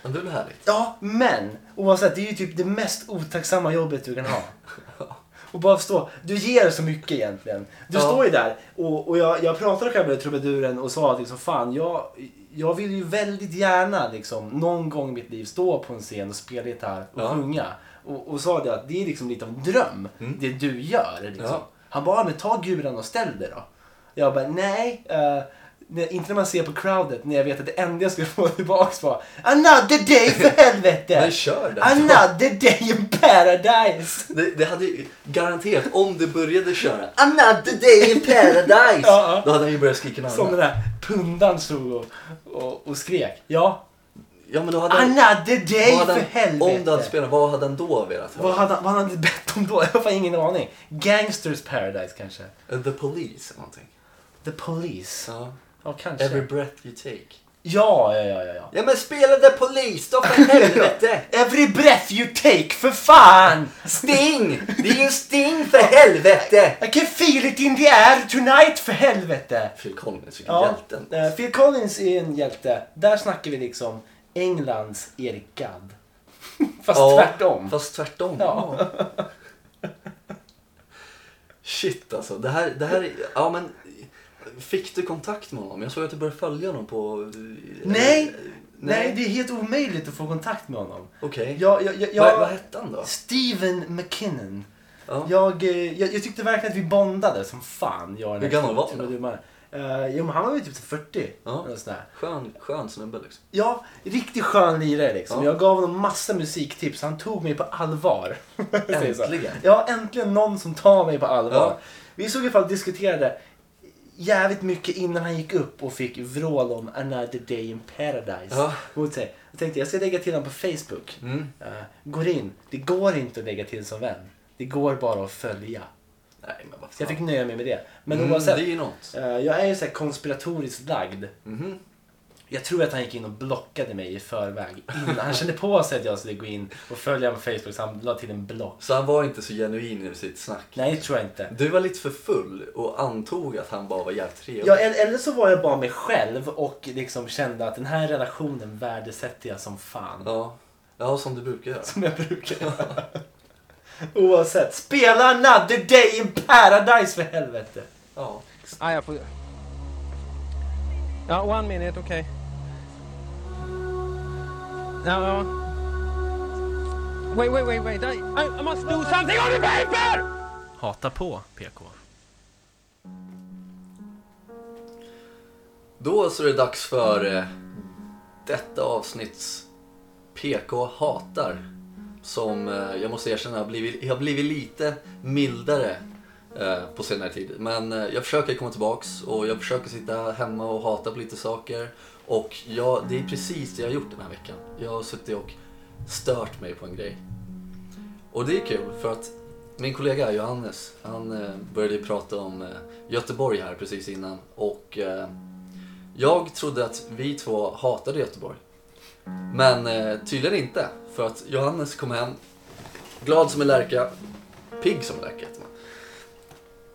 Speaker 1: Men det är väl härligt?
Speaker 3: Ja, men oavsett, det är ju typ det mest otacksamma jobbet du kan ha. Och bara förstå, du ger så mycket egentligen. Du
Speaker 1: Ja.
Speaker 3: står ju där och, och jag, jag pratade själv med trubaduren och sa att liksom, fan, jag, jag vill ju väldigt gärna liksom, någon gång i mitt liv stå på en scen och spela gitarr och
Speaker 1: Ja.
Speaker 3: sjunga. Och, och sa det att det är liksom lite av en dröm, det du gör. Liksom.
Speaker 1: Mm. Ja.
Speaker 3: Han bara, men ta guran och ställ dig då. Jag bara, nej. eh, nej, inte när man ser på crowdet när jag vet att det enda jag skulle få tillbaks var Another day för helvete!
Speaker 1: Men kör den då.
Speaker 3: Another day in paradise!
Speaker 1: Det, det hade ju garanterat, om du började köra
Speaker 3: Another day in
Speaker 1: Paradise!
Speaker 3: Ja.
Speaker 1: Då hade han ju börjat skrika namn.
Speaker 3: Som den där pundan stod och, och, och skrek. Ja.
Speaker 1: Ja men då hade han...
Speaker 3: Another day
Speaker 1: vad hade
Speaker 3: för
Speaker 1: han-
Speaker 3: helvete!
Speaker 1: Om du hade spelat, vad hade han då velat
Speaker 3: vad
Speaker 1: höra?
Speaker 3: hade, han- vad hade han bett om då? Jag har fan ingen aning. Gangsters paradise kanske?
Speaker 1: The Police eller någonting.
Speaker 3: The police?
Speaker 1: Ja.
Speaker 3: Ja, kanske.
Speaker 1: Every breath you take.
Speaker 3: Ja, ja, ja, ja, ja.
Speaker 1: Ja men spela The Police då för helvete!
Speaker 3: Every breath you take, för fan!
Speaker 1: Sting! Det är ju Sting för helvete!
Speaker 3: I can feel it in the air tonight, för helvete!
Speaker 1: Phil Collins, vilken
Speaker 3: Ja,
Speaker 1: hjälten.
Speaker 3: eh, Phil Collins är en hjälte. Där snackar vi liksom Englands Erik Gadd. Fast
Speaker 1: Ja,
Speaker 3: tvärtom.
Speaker 1: Fast tvärtom.
Speaker 3: Ja.
Speaker 1: Shit alltså. Det här, det här är, ja men. Fick du kontakt med honom? Jag såg att du började följa honom på... eh,
Speaker 3: Nej, nej,
Speaker 1: Nej.
Speaker 3: det är helt omöjligt att få kontakt med honom.
Speaker 1: Okej.
Speaker 3: Jag, jag, jag,
Speaker 1: Vad, vad
Speaker 3: jag,
Speaker 1: hette han då?
Speaker 3: Steven McKinnon.
Speaker 1: Ja.
Speaker 3: Jag, eh, jag, jag tyckte verkligen att vi bondade som fan. Jag och den
Speaker 1: Hur
Speaker 3: här
Speaker 1: gammal var han
Speaker 3: killen
Speaker 1: då?
Speaker 3: med dumma- Eh, jo men han var väl typ så 40.
Speaker 1: Ja.
Speaker 3: Eller sådär.
Speaker 1: Skön, skön snubbe liksom.
Speaker 3: Ja, riktigt skön lirare liksom.
Speaker 1: Ja.
Speaker 3: Jag gav honom massa musiktips. Han tog mig på allvar. Säger så.
Speaker 1: Äntligen.
Speaker 3: Ja, äntligen någon som tar mig på allvar.
Speaker 1: Ja.
Speaker 3: Vi såg i alla fall diskuterade jävligt mycket innan han gick upp och fick vrål om Another Day in Paradise
Speaker 1: Ja.
Speaker 3: mot sig. Jag tänkte jag ska lägga till honom på Facebook.
Speaker 1: Mm.
Speaker 3: Eh, går in. Det går inte att lägga till som vän. Det går bara att följa.
Speaker 1: Nej men vad
Speaker 3: Så jag
Speaker 1: fan.
Speaker 3: fick nöja mig med det. Men
Speaker 1: Mm,
Speaker 3: oavsett.
Speaker 1: det är ju något. Mhm.
Speaker 3: eh, jag är ju så här konspiratoriskt lagd. Jag tror att han gick in och blockade mig i förväg. Innan. Han kände på sig att jag skulle gå in och följa honom på Facebook så han la till en block.
Speaker 1: Så han var inte så genuin i sitt snack.
Speaker 3: Nej, det tror jag inte.
Speaker 1: Du var lite för full och antog att han bara var jävligt trevlig.
Speaker 3: Ja, el- eller så var jag bara mig själv och liksom kände att den här relationen värdesätter jag som fan.
Speaker 1: ja. Ja, som du brukar göra.
Speaker 3: Som jag brukar göra. Oavsett. Spela another day in paradise för helvete!
Speaker 1: Ja.
Speaker 4: Ah, jag får... Ja, one minute, okej. Ja, ja. Wait, wait, wait, wait. I, I, I must do something on the paper!
Speaker 3: Hata på PK.
Speaker 1: Då så är det dags för eh, detta avsnitts PK hatar. Som eh, jag måste erkänna har blivit, har blivit lite mildare eh, på senare tid. Men eh, jag försöker komma tillbaks och jag försöker sitta hemma och hata på lite saker. Och jag, det är precis det jag har gjort den här veckan. Jag har suttit och stört mig på en grej. Och det är kul för att min kollega Johannes, han eh, började ju prata om eh, Göteborg här precis innan. Och... Eh, jag trodde att vi två hatade Göteborg. Men eh, tydligen inte. För att Johannes kom hem, glad som en lärka, pigg som en lärka heter man.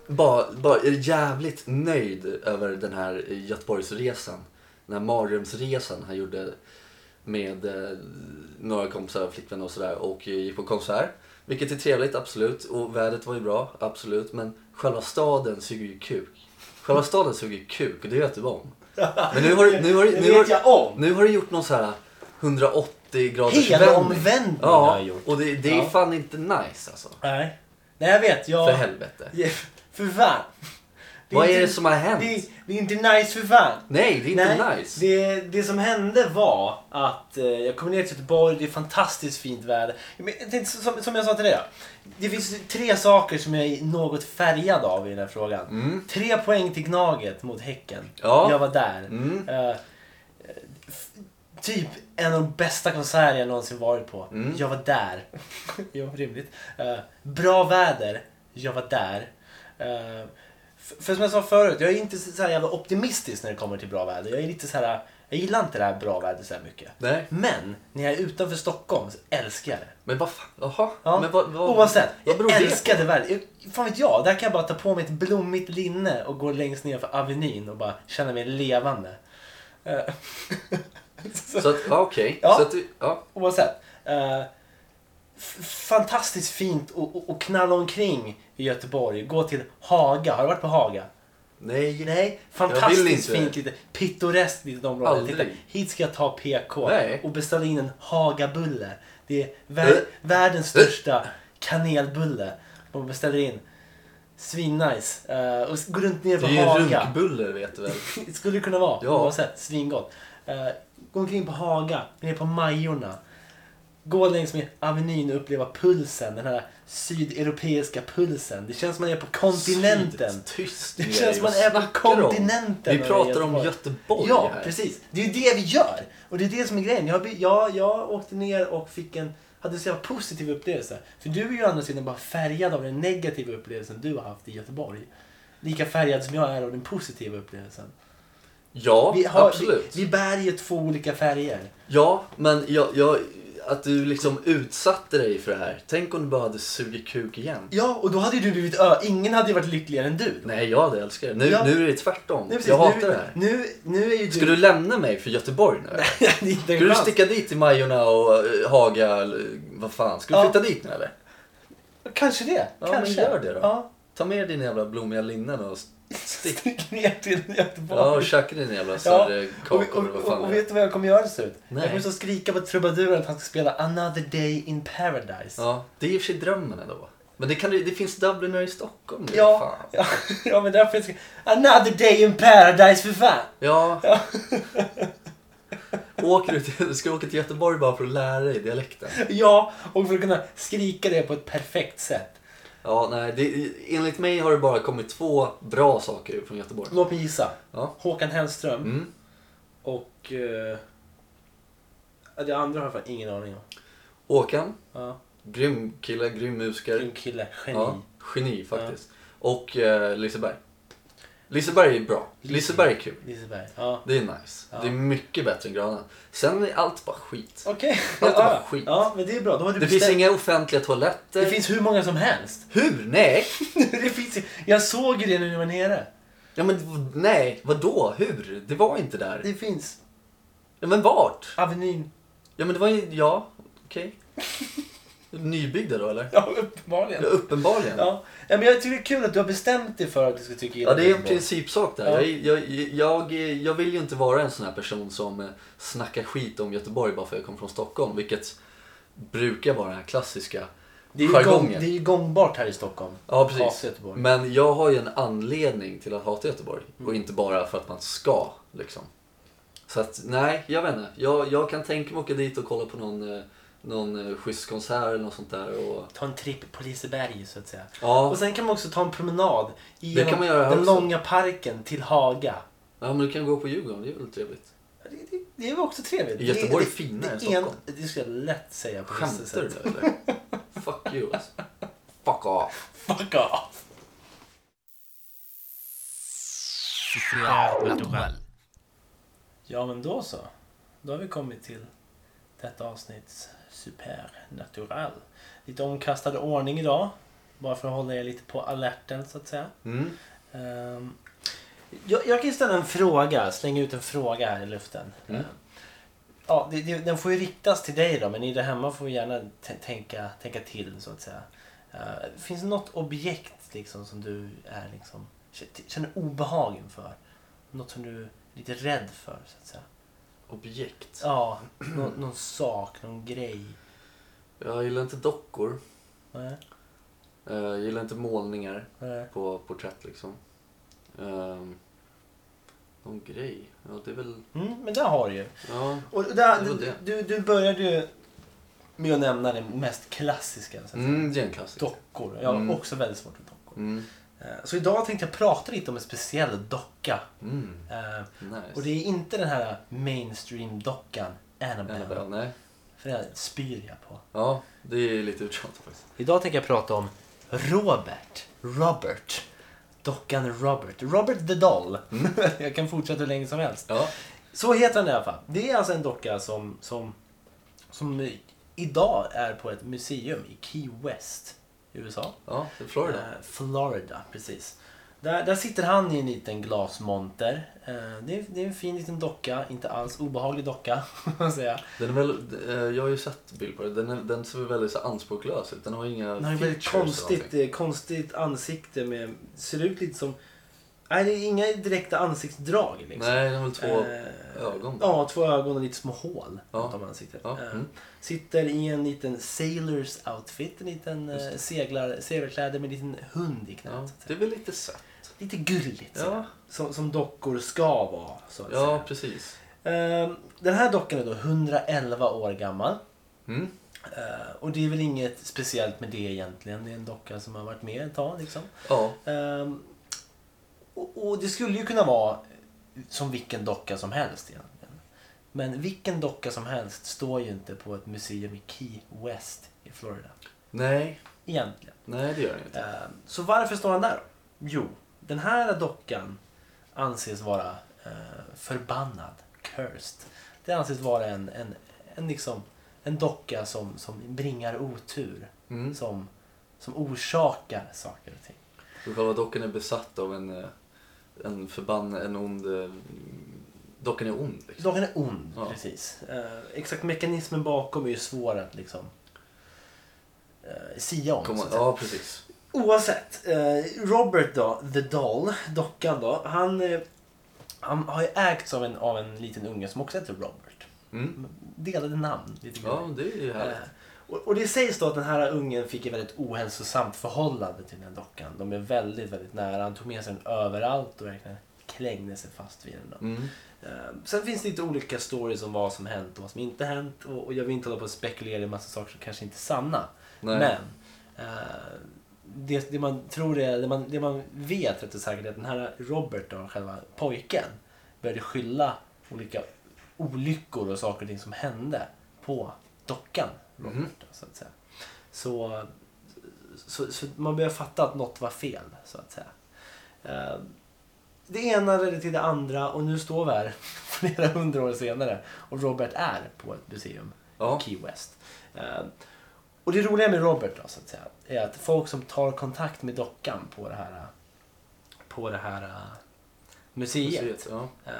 Speaker 1: Bara, bara är jävligt nöjd över den här Göteborgsresan. Den här mardrömsresan han gjorde med eh, några kompisar, flickvänner och sådär och eh, gick på konsert. Vilket är trevligt, absolut. Och vädret var ju bra, absolut. Men själva staden suger ju kuk. Själva staden suger ju kuk och det vet du om. Men nu har, du- nu har, du-
Speaker 3: Det
Speaker 1: nu har,
Speaker 3: vet jag om.
Speaker 1: nu har du gjort någon så här 180 graders
Speaker 3: Helomvändning
Speaker 1: Ja,
Speaker 3: har jag gjort.
Speaker 1: och det, det är
Speaker 3: Ja.
Speaker 1: fan inte nice alltså.
Speaker 3: Nej. Nej, jag vet. Jag...
Speaker 1: För helvete.
Speaker 3: Ja, För fan.
Speaker 1: Vad är
Speaker 3: inte-
Speaker 1: det som har hänt?
Speaker 3: Det är, det är inte nice för fan.
Speaker 1: Nej, det är inte
Speaker 3: Nej,
Speaker 1: nice.
Speaker 3: Det, det som hände var att eh, jag kom ner till Göteborg, det är fantastiskt fint väder. Men, jag tänkte, som, som jag sa till dig då. Det finns tre saker som jag är något färgad av i den här frågan. Tre poäng till Gnaget mot Häcken.
Speaker 1: Mm. Ja.
Speaker 3: Jag var där.
Speaker 1: Mm.
Speaker 3: Eh, f- typ en av de bästa konserter jag någonsin varit på.
Speaker 1: Mm.
Speaker 3: Jag var där. jo, rimligt. Eh, bra väder. Jag var där. Eh, f- för som jag sa förut, jag är inte så här jävla optimistisk när det kommer till bra väder. Jag är lite så här, jag gillar inte det här bra vädret så här mycket.
Speaker 1: Nej,
Speaker 3: Men när jag är utanför Stockholm så älskar jag det.
Speaker 1: men vad fan, jaha.
Speaker 3: Ja.
Speaker 1: Men vad, vad,
Speaker 3: Oavsett,
Speaker 1: vad beror
Speaker 3: jag
Speaker 1: det
Speaker 3: älskade världen. Jag- Fan vet jag, där kan jag bara ta på mig ett blommigt linne och gå längst ner för Avenyn och bara känna mig levande. Eh,
Speaker 1: på? Så att, ja okej.
Speaker 3: Ja.
Speaker 1: Så att du, ja.
Speaker 3: Oavsett. eh, f- fantastiskt fint att- att att knalla omkring i Göteborg. Gå till Haga. Har du varit på Haga?
Speaker 1: Nej.
Speaker 3: Nej.
Speaker 1: vill
Speaker 3: Fantastiskt
Speaker 1: inte.
Speaker 3: fint, lite pittoreskt litet område. Jag
Speaker 1: Aldrig.
Speaker 3: tänkte, hit ska jag ta PK
Speaker 1: Nej.
Speaker 3: och beställa in en Hagabulle. Det är vär-
Speaker 1: Äh.
Speaker 3: världens största kanelbulle. Man beställer in. Svinnice. Eh, och s- går runt ner
Speaker 1: Det
Speaker 3: på
Speaker 1: är ju
Speaker 3: Haga.
Speaker 1: runkbuller vet du väl.
Speaker 3: Det skulle det kunna vara.
Speaker 1: Ja.
Speaker 3: Oavsett, svingott. Uh, gå omkring på Haga, ner på Majorna. Gå längs med Avenyn och uppleva pulsen, den här sydeuropeiska pulsen. Det känns som man är på kontinenten.
Speaker 1: Syd, Tyst
Speaker 3: Det
Speaker 1: med
Speaker 3: känns
Speaker 1: dig,
Speaker 3: man
Speaker 1: vad
Speaker 3: är på
Speaker 1: snackar du om?
Speaker 3: kontinenten
Speaker 1: Vi
Speaker 3: och
Speaker 1: pratar om
Speaker 3: Göteborg.
Speaker 1: Göteborg
Speaker 3: Ja,
Speaker 1: här.
Speaker 3: precis. Det är ju det vi gör. Och det är det som är grejen. Jag, by- jag, jag åkte ner och fick en, hade en så jävla positiv upplevelse. För du är ju å andra sidan bara färgad av den negativa upplevelsen du har haft i Göteborg. Lika färgad som jag är av den positiva upplevelsen.
Speaker 1: Ja,
Speaker 3: Vi, har,
Speaker 1: absolut.
Speaker 3: vi, vi bär ju två olika färger.
Speaker 1: Ja, men jag, jag, att du liksom utsatte dig för det här. Tänk om du bara hade sugit kuk igen.
Speaker 3: Ja, och då hade ju du blivit ö. Ingen hade ju varit lyckligare än du.
Speaker 1: Nej, jag hade älskat det. Nu,
Speaker 3: Ja.
Speaker 1: nu är det tvärtom.
Speaker 3: Nej, precis.
Speaker 1: jag hatar
Speaker 3: nu,
Speaker 1: det här.
Speaker 3: Nu, nu är ju du...
Speaker 1: Ska du lämna mig för Göteborg nu?
Speaker 3: Nej, det är inte en
Speaker 1: Ska du
Speaker 3: chans.
Speaker 1: sticka dit till Majorna och eh, Haga? eller Vad fan, ska du
Speaker 3: Ja.
Speaker 1: flytta dit nu eller?
Speaker 3: Kanske det.
Speaker 1: Ja, men
Speaker 3: Kanske.
Speaker 1: gör det då.
Speaker 3: Ja.
Speaker 1: Ta med dig dina jävla blommiga linnen och stick.
Speaker 3: Stick ner till Göteborg.
Speaker 1: Ja, och tjacka dina jävla sörrekakor
Speaker 3: och,
Speaker 1: eller vad
Speaker 3: och, och,
Speaker 1: fan
Speaker 3: och
Speaker 1: det är.
Speaker 3: vet du vad jag kommer göra till slut?
Speaker 1: Nej.
Speaker 3: Jag kommer så skrika på trubaduren att han ska spela Another Day in Paradise.
Speaker 1: Ja, det är i och för sig drömmen ändå. Men det, kan, det finns Dublinare i Stockholm nu.
Speaker 3: Ja,
Speaker 1: Fan.
Speaker 3: ja, ja, men därför ska... Another day in paradise för fan!
Speaker 1: ja.
Speaker 3: Ja.
Speaker 1: Åker du till, ska du åka till Göteborg bara för att lära dig dialekten?
Speaker 3: Ja, och för att kunna skrika det på ett perfekt sätt.
Speaker 1: Ja, nej. Det, enligt mig har det bara kommit två bra saker från Göteborg.
Speaker 3: Låt mig gissa.
Speaker 1: Ja.
Speaker 3: Håkan Hellström
Speaker 1: Mm.
Speaker 3: och... eh, ja, det andra har jag fan ingen aning om.
Speaker 1: Håkan,
Speaker 3: Ja,
Speaker 1: grym kille, grym musiker.
Speaker 3: grym kille, geni.
Speaker 1: Ja, geni faktiskt. Och eh, Liseberg. Liseberg är bra. Liseberg är kul.
Speaker 3: Liseberg. Ja.
Speaker 1: Det är nice.
Speaker 3: Ja.
Speaker 1: Det är mycket bättre än Gröna. Sen är allt bara skit.
Speaker 3: Okej.
Speaker 1: Allt är bara
Speaker 3: Ja,
Speaker 1: skit.
Speaker 3: Ja, men det är bra. Då har du
Speaker 1: Det finns
Speaker 3: bestämt.
Speaker 1: inga offentliga toaletter.
Speaker 3: det finns hur många som helst.
Speaker 1: Hur? Nej!
Speaker 3: det finns... Jag såg ju det när du var nere.
Speaker 1: Ja men v- nej, vadå? Hur? Det var inte där.
Speaker 3: Det finns.
Speaker 1: Ja men vart?
Speaker 3: Avenyn.
Speaker 1: Ja men det var ju, ja, okej. Nybyggda då eller?
Speaker 3: Ja, uppenbarligen.
Speaker 1: Ja, uppenbarligen.
Speaker 3: Ja. ja, men jag tycker det är kul att du har bestämt dig för att du ska tycka illa
Speaker 1: Ja, det är en
Speaker 3: Göteborg.
Speaker 1: principsak där.
Speaker 3: Ja.
Speaker 1: Jag, jag, jag, jag vill ju inte vara en sån här person som eh, snackar skit om Göteborg bara för att jag kommer från Stockholm, vilket brukar vara den här klassiska
Speaker 3: Det är, ju gång,
Speaker 1: jargongen.
Speaker 3: det är ju gångbart här i Stockholm.
Speaker 1: Ja, precis.
Speaker 3: Hata Göteborg. Mm.
Speaker 1: Men jag har ju en anledning till att hata Göteborg och inte bara för att man ska. Liksom. Så att nej, jag vet inte. Jag, jag kan tänka mig åka dit och kolla på någon, eh, någon eh, schysst konsert eller något sånt där. Och,
Speaker 3: Ta en tripp på Liseberg så att säga.
Speaker 1: ja,
Speaker 3: Och sen kan man också ta en promenad genom
Speaker 1: kan man göra här
Speaker 3: den
Speaker 1: också.
Speaker 3: långa parken till Haga.
Speaker 1: ja, men du kan gå på Djurgården, det är väl trevligt.
Speaker 3: Ja, Det, det, det är väl också trevligt.
Speaker 1: Göteborg
Speaker 3: Det-
Speaker 1: är finare än
Speaker 3: det, det, en-
Speaker 1: Stockholm.
Speaker 3: Det skulle jag lätt säga på vissa
Speaker 1: Skämtar du
Speaker 3: sätt.
Speaker 1: nu eller? Fuck you alltså. Fuck off.
Speaker 3: Fuck off! Ja men då så. Då har vi kommit till detta avsnitts supernatural. Lite omkastad ordning idag. Bara för att hålla er lite på alerten så att säga.
Speaker 1: Mm.
Speaker 3: Ehm, jag, jag kan ju ställa en fråga, slänga ut en fråga här i luften.
Speaker 1: Mm.
Speaker 3: Ja, det, det, den får ju riktas till dig då, men ni där hemma får gärna t- tänka, tänka till så att säga. Eh, finns det något objekt liksom som du är liksom, k- känner obehag inför? Något som du är lite rädd för så att säga?
Speaker 1: Objekt.
Speaker 3: Ja, nå, någon sak, någon grej.
Speaker 1: Jag gillar inte dockor.
Speaker 3: Nej,
Speaker 1: Eh, Jag gillar inte målningar.
Speaker 3: nej.
Speaker 1: på porträtt liksom. Um, någon grej? Ja, det är väl...
Speaker 3: Mm, men där har du ju.
Speaker 1: Ja,
Speaker 3: Och där,
Speaker 1: Det var
Speaker 3: du,
Speaker 1: det.
Speaker 3: du, du började ju med att nämna det mest klassiska. Så att säga.
Speaker 1: mm, det är en klassiker.
Speaker 3: Dockor. Jag har
Speaker 1: Mm.
Speaker 3: också väldigt svårt med dockor.
Speaker 1: Mm,
Speaker 3: Eh, Så idag tänkte jag prata lite om en speciell docka.
Speaker 1: mm,
Speaker 3: Eh,
Speaker 1: nice.
Speaker 3: Och det är inte den här mainstream-dockan Annabelle.
Speaker 1: Annabelle, nej.
Speaker 3: För den spyr jag på.
Speaker 1: Ja, det är lite uttjatat faktiskt.
Speaker 3: Idag tänker jag prata om Robert. Robert. Dockan Robert. Robert the Doll. jag kan fortsätta hur länge som helst.
Speaker 1: Ja,
Speaker 3: Så heter den i alla fall. Det är alltså en docka som, som, som eh, idag är på ett museum i Key West i USA.
Speaker 1: ja, det är Florida.
Speaker 3: Eh, Florida, precis. Där, där sitter han i en liten glasmonter. Eh, det, är, det är en fin liten docka, inte alls obehaglig docka. får man säga.
Speaker 1: Den är väl, eh, jag har ju sett bild på den. Den, är, den ser väl väldigt så anspråklös ut. Den har inga
Speaker 3: Den har ett väldigt
Speaker 1: features eller
Speaker 3: konstigt,
Speaker 1: någonting.
Speaker 3: eh, konstigt ansikte med, ser ut lite som, nej det är inga direkta ansiktsdrag liksom.
Speaker 1: Nej, den har väl två
Speaker 3: Eh,
Speaker 1: ögon.
Speaker 3: Ja, två ögon och lite små hål
Speaker 1: Ja.
Speaker 3: runt om ansiktet.
Speaker 1: Ja,
Speaker 3: Eh,
Speaker 1: mm.
Speaker 3: Sitter i en liten sailors outfit, en liten
Speaker 1: Just
Speaker 3: eh, seglar, seglarkläder med en liten hund i knät.
Speaker 1: Ja,
Speaker 3: så att
Speaker 1: det är
Speaker 3: säga.
Speaker 1: väl lite sött.
Speaker 3: Lite gulligt sådär.
Speaker 1: Ja,
Speaker 3: Som, som dockor ska vara. Så att
Speaker 1: ja precis.
Speaker 3: säga. Ehm, Den här dockan är då 111 år gammal.
Speaker 1: Mm.
Speaker 3: Eh, Och det är väl inget speciellt med det egentligen. Det är en docka som har varit med ett tag. Liksom.
Speaker 1: Ja,
Speaker 3: Ehm, Och, och det skulle ju kunna vara som vilken docka som helst egentligen. Men vilken docka som helst står ju inte på ett museum i Key West i Florida.
Speaker 1: nej,
Speaker 3: Egentligen.
Speaker 1: nej det gör den inte.
Speaker 3: Eh, Så varför står han där då? Jo, den här dockan anses vara eh, förbannad, cursed. Det anses vara en, en, en, liksom, en docka som, som bringar otur.
Speaker 1: Mm.
Speaker 3: Som, som orsakar saker och ting.
Speaker 1: Och själva dockan är besatt av en, eh, en förbann, en ond... eh, Dockan är ond liksom.
Speaker 3: Dockan är ond,
Speaker 1: Ja.
Speaker 3: precis. Eh, exakt mekanismen bakom är ju svår att liksom eh, sia om.
Speaker 1: Kommer,
Speaker 3: så att säga.
Speaker 1: ja, precis.
Speaker 3: Oavsett. Eh, Robert då, The Doll, dockan då. Han, eh, han har ju ägts av en, av en liten unge som också heter Robert.
Speaker 1: Mm.
Speaker 3: Delade namn. Lite grann.
Speaker 1: Ja, det är ju härligt.
Speaker 3: Eh, Och, och det sägs då att den här ungen fick ett väldigt ohälsosamt förhållande till den här dockan. De är väldigt, väldigt nära. Han tog med sig den överallt och verkligen klängde sig fast vid den. Då.
Speaker 1: Mm.
Speaker 3: Eh, Sen finns det lite olika stories om vad som hänt och vad som inte hänt. Och, och jag vill inte hålla på och spekulera i en massa saker som kanske inte är sanna.
Speaker 1: Nej.
Speaker 3: Men eh, det, det man tror är, det man, det man vet rätt och säkert är att den här Robert, då, själva pojken, började skylla olika olyckor och saker och ting som hände på dockan Robert. Då, så att säga. Så, så, så man börjar fatta att något var fel, så att säga. Eh, det ena ledde till det andra och nu står vi här flera hundra år senare och Robert är på ett museum
Speaker 1: Ja.
Speaker 3: i Key West. Eh, och det roliga med Robert då, så att säga, är att folk som tar kontakt med dockan på det här, eh, på det här eh, museet,
Speaker 1: Museet, Ja.
Speaker 3: eh,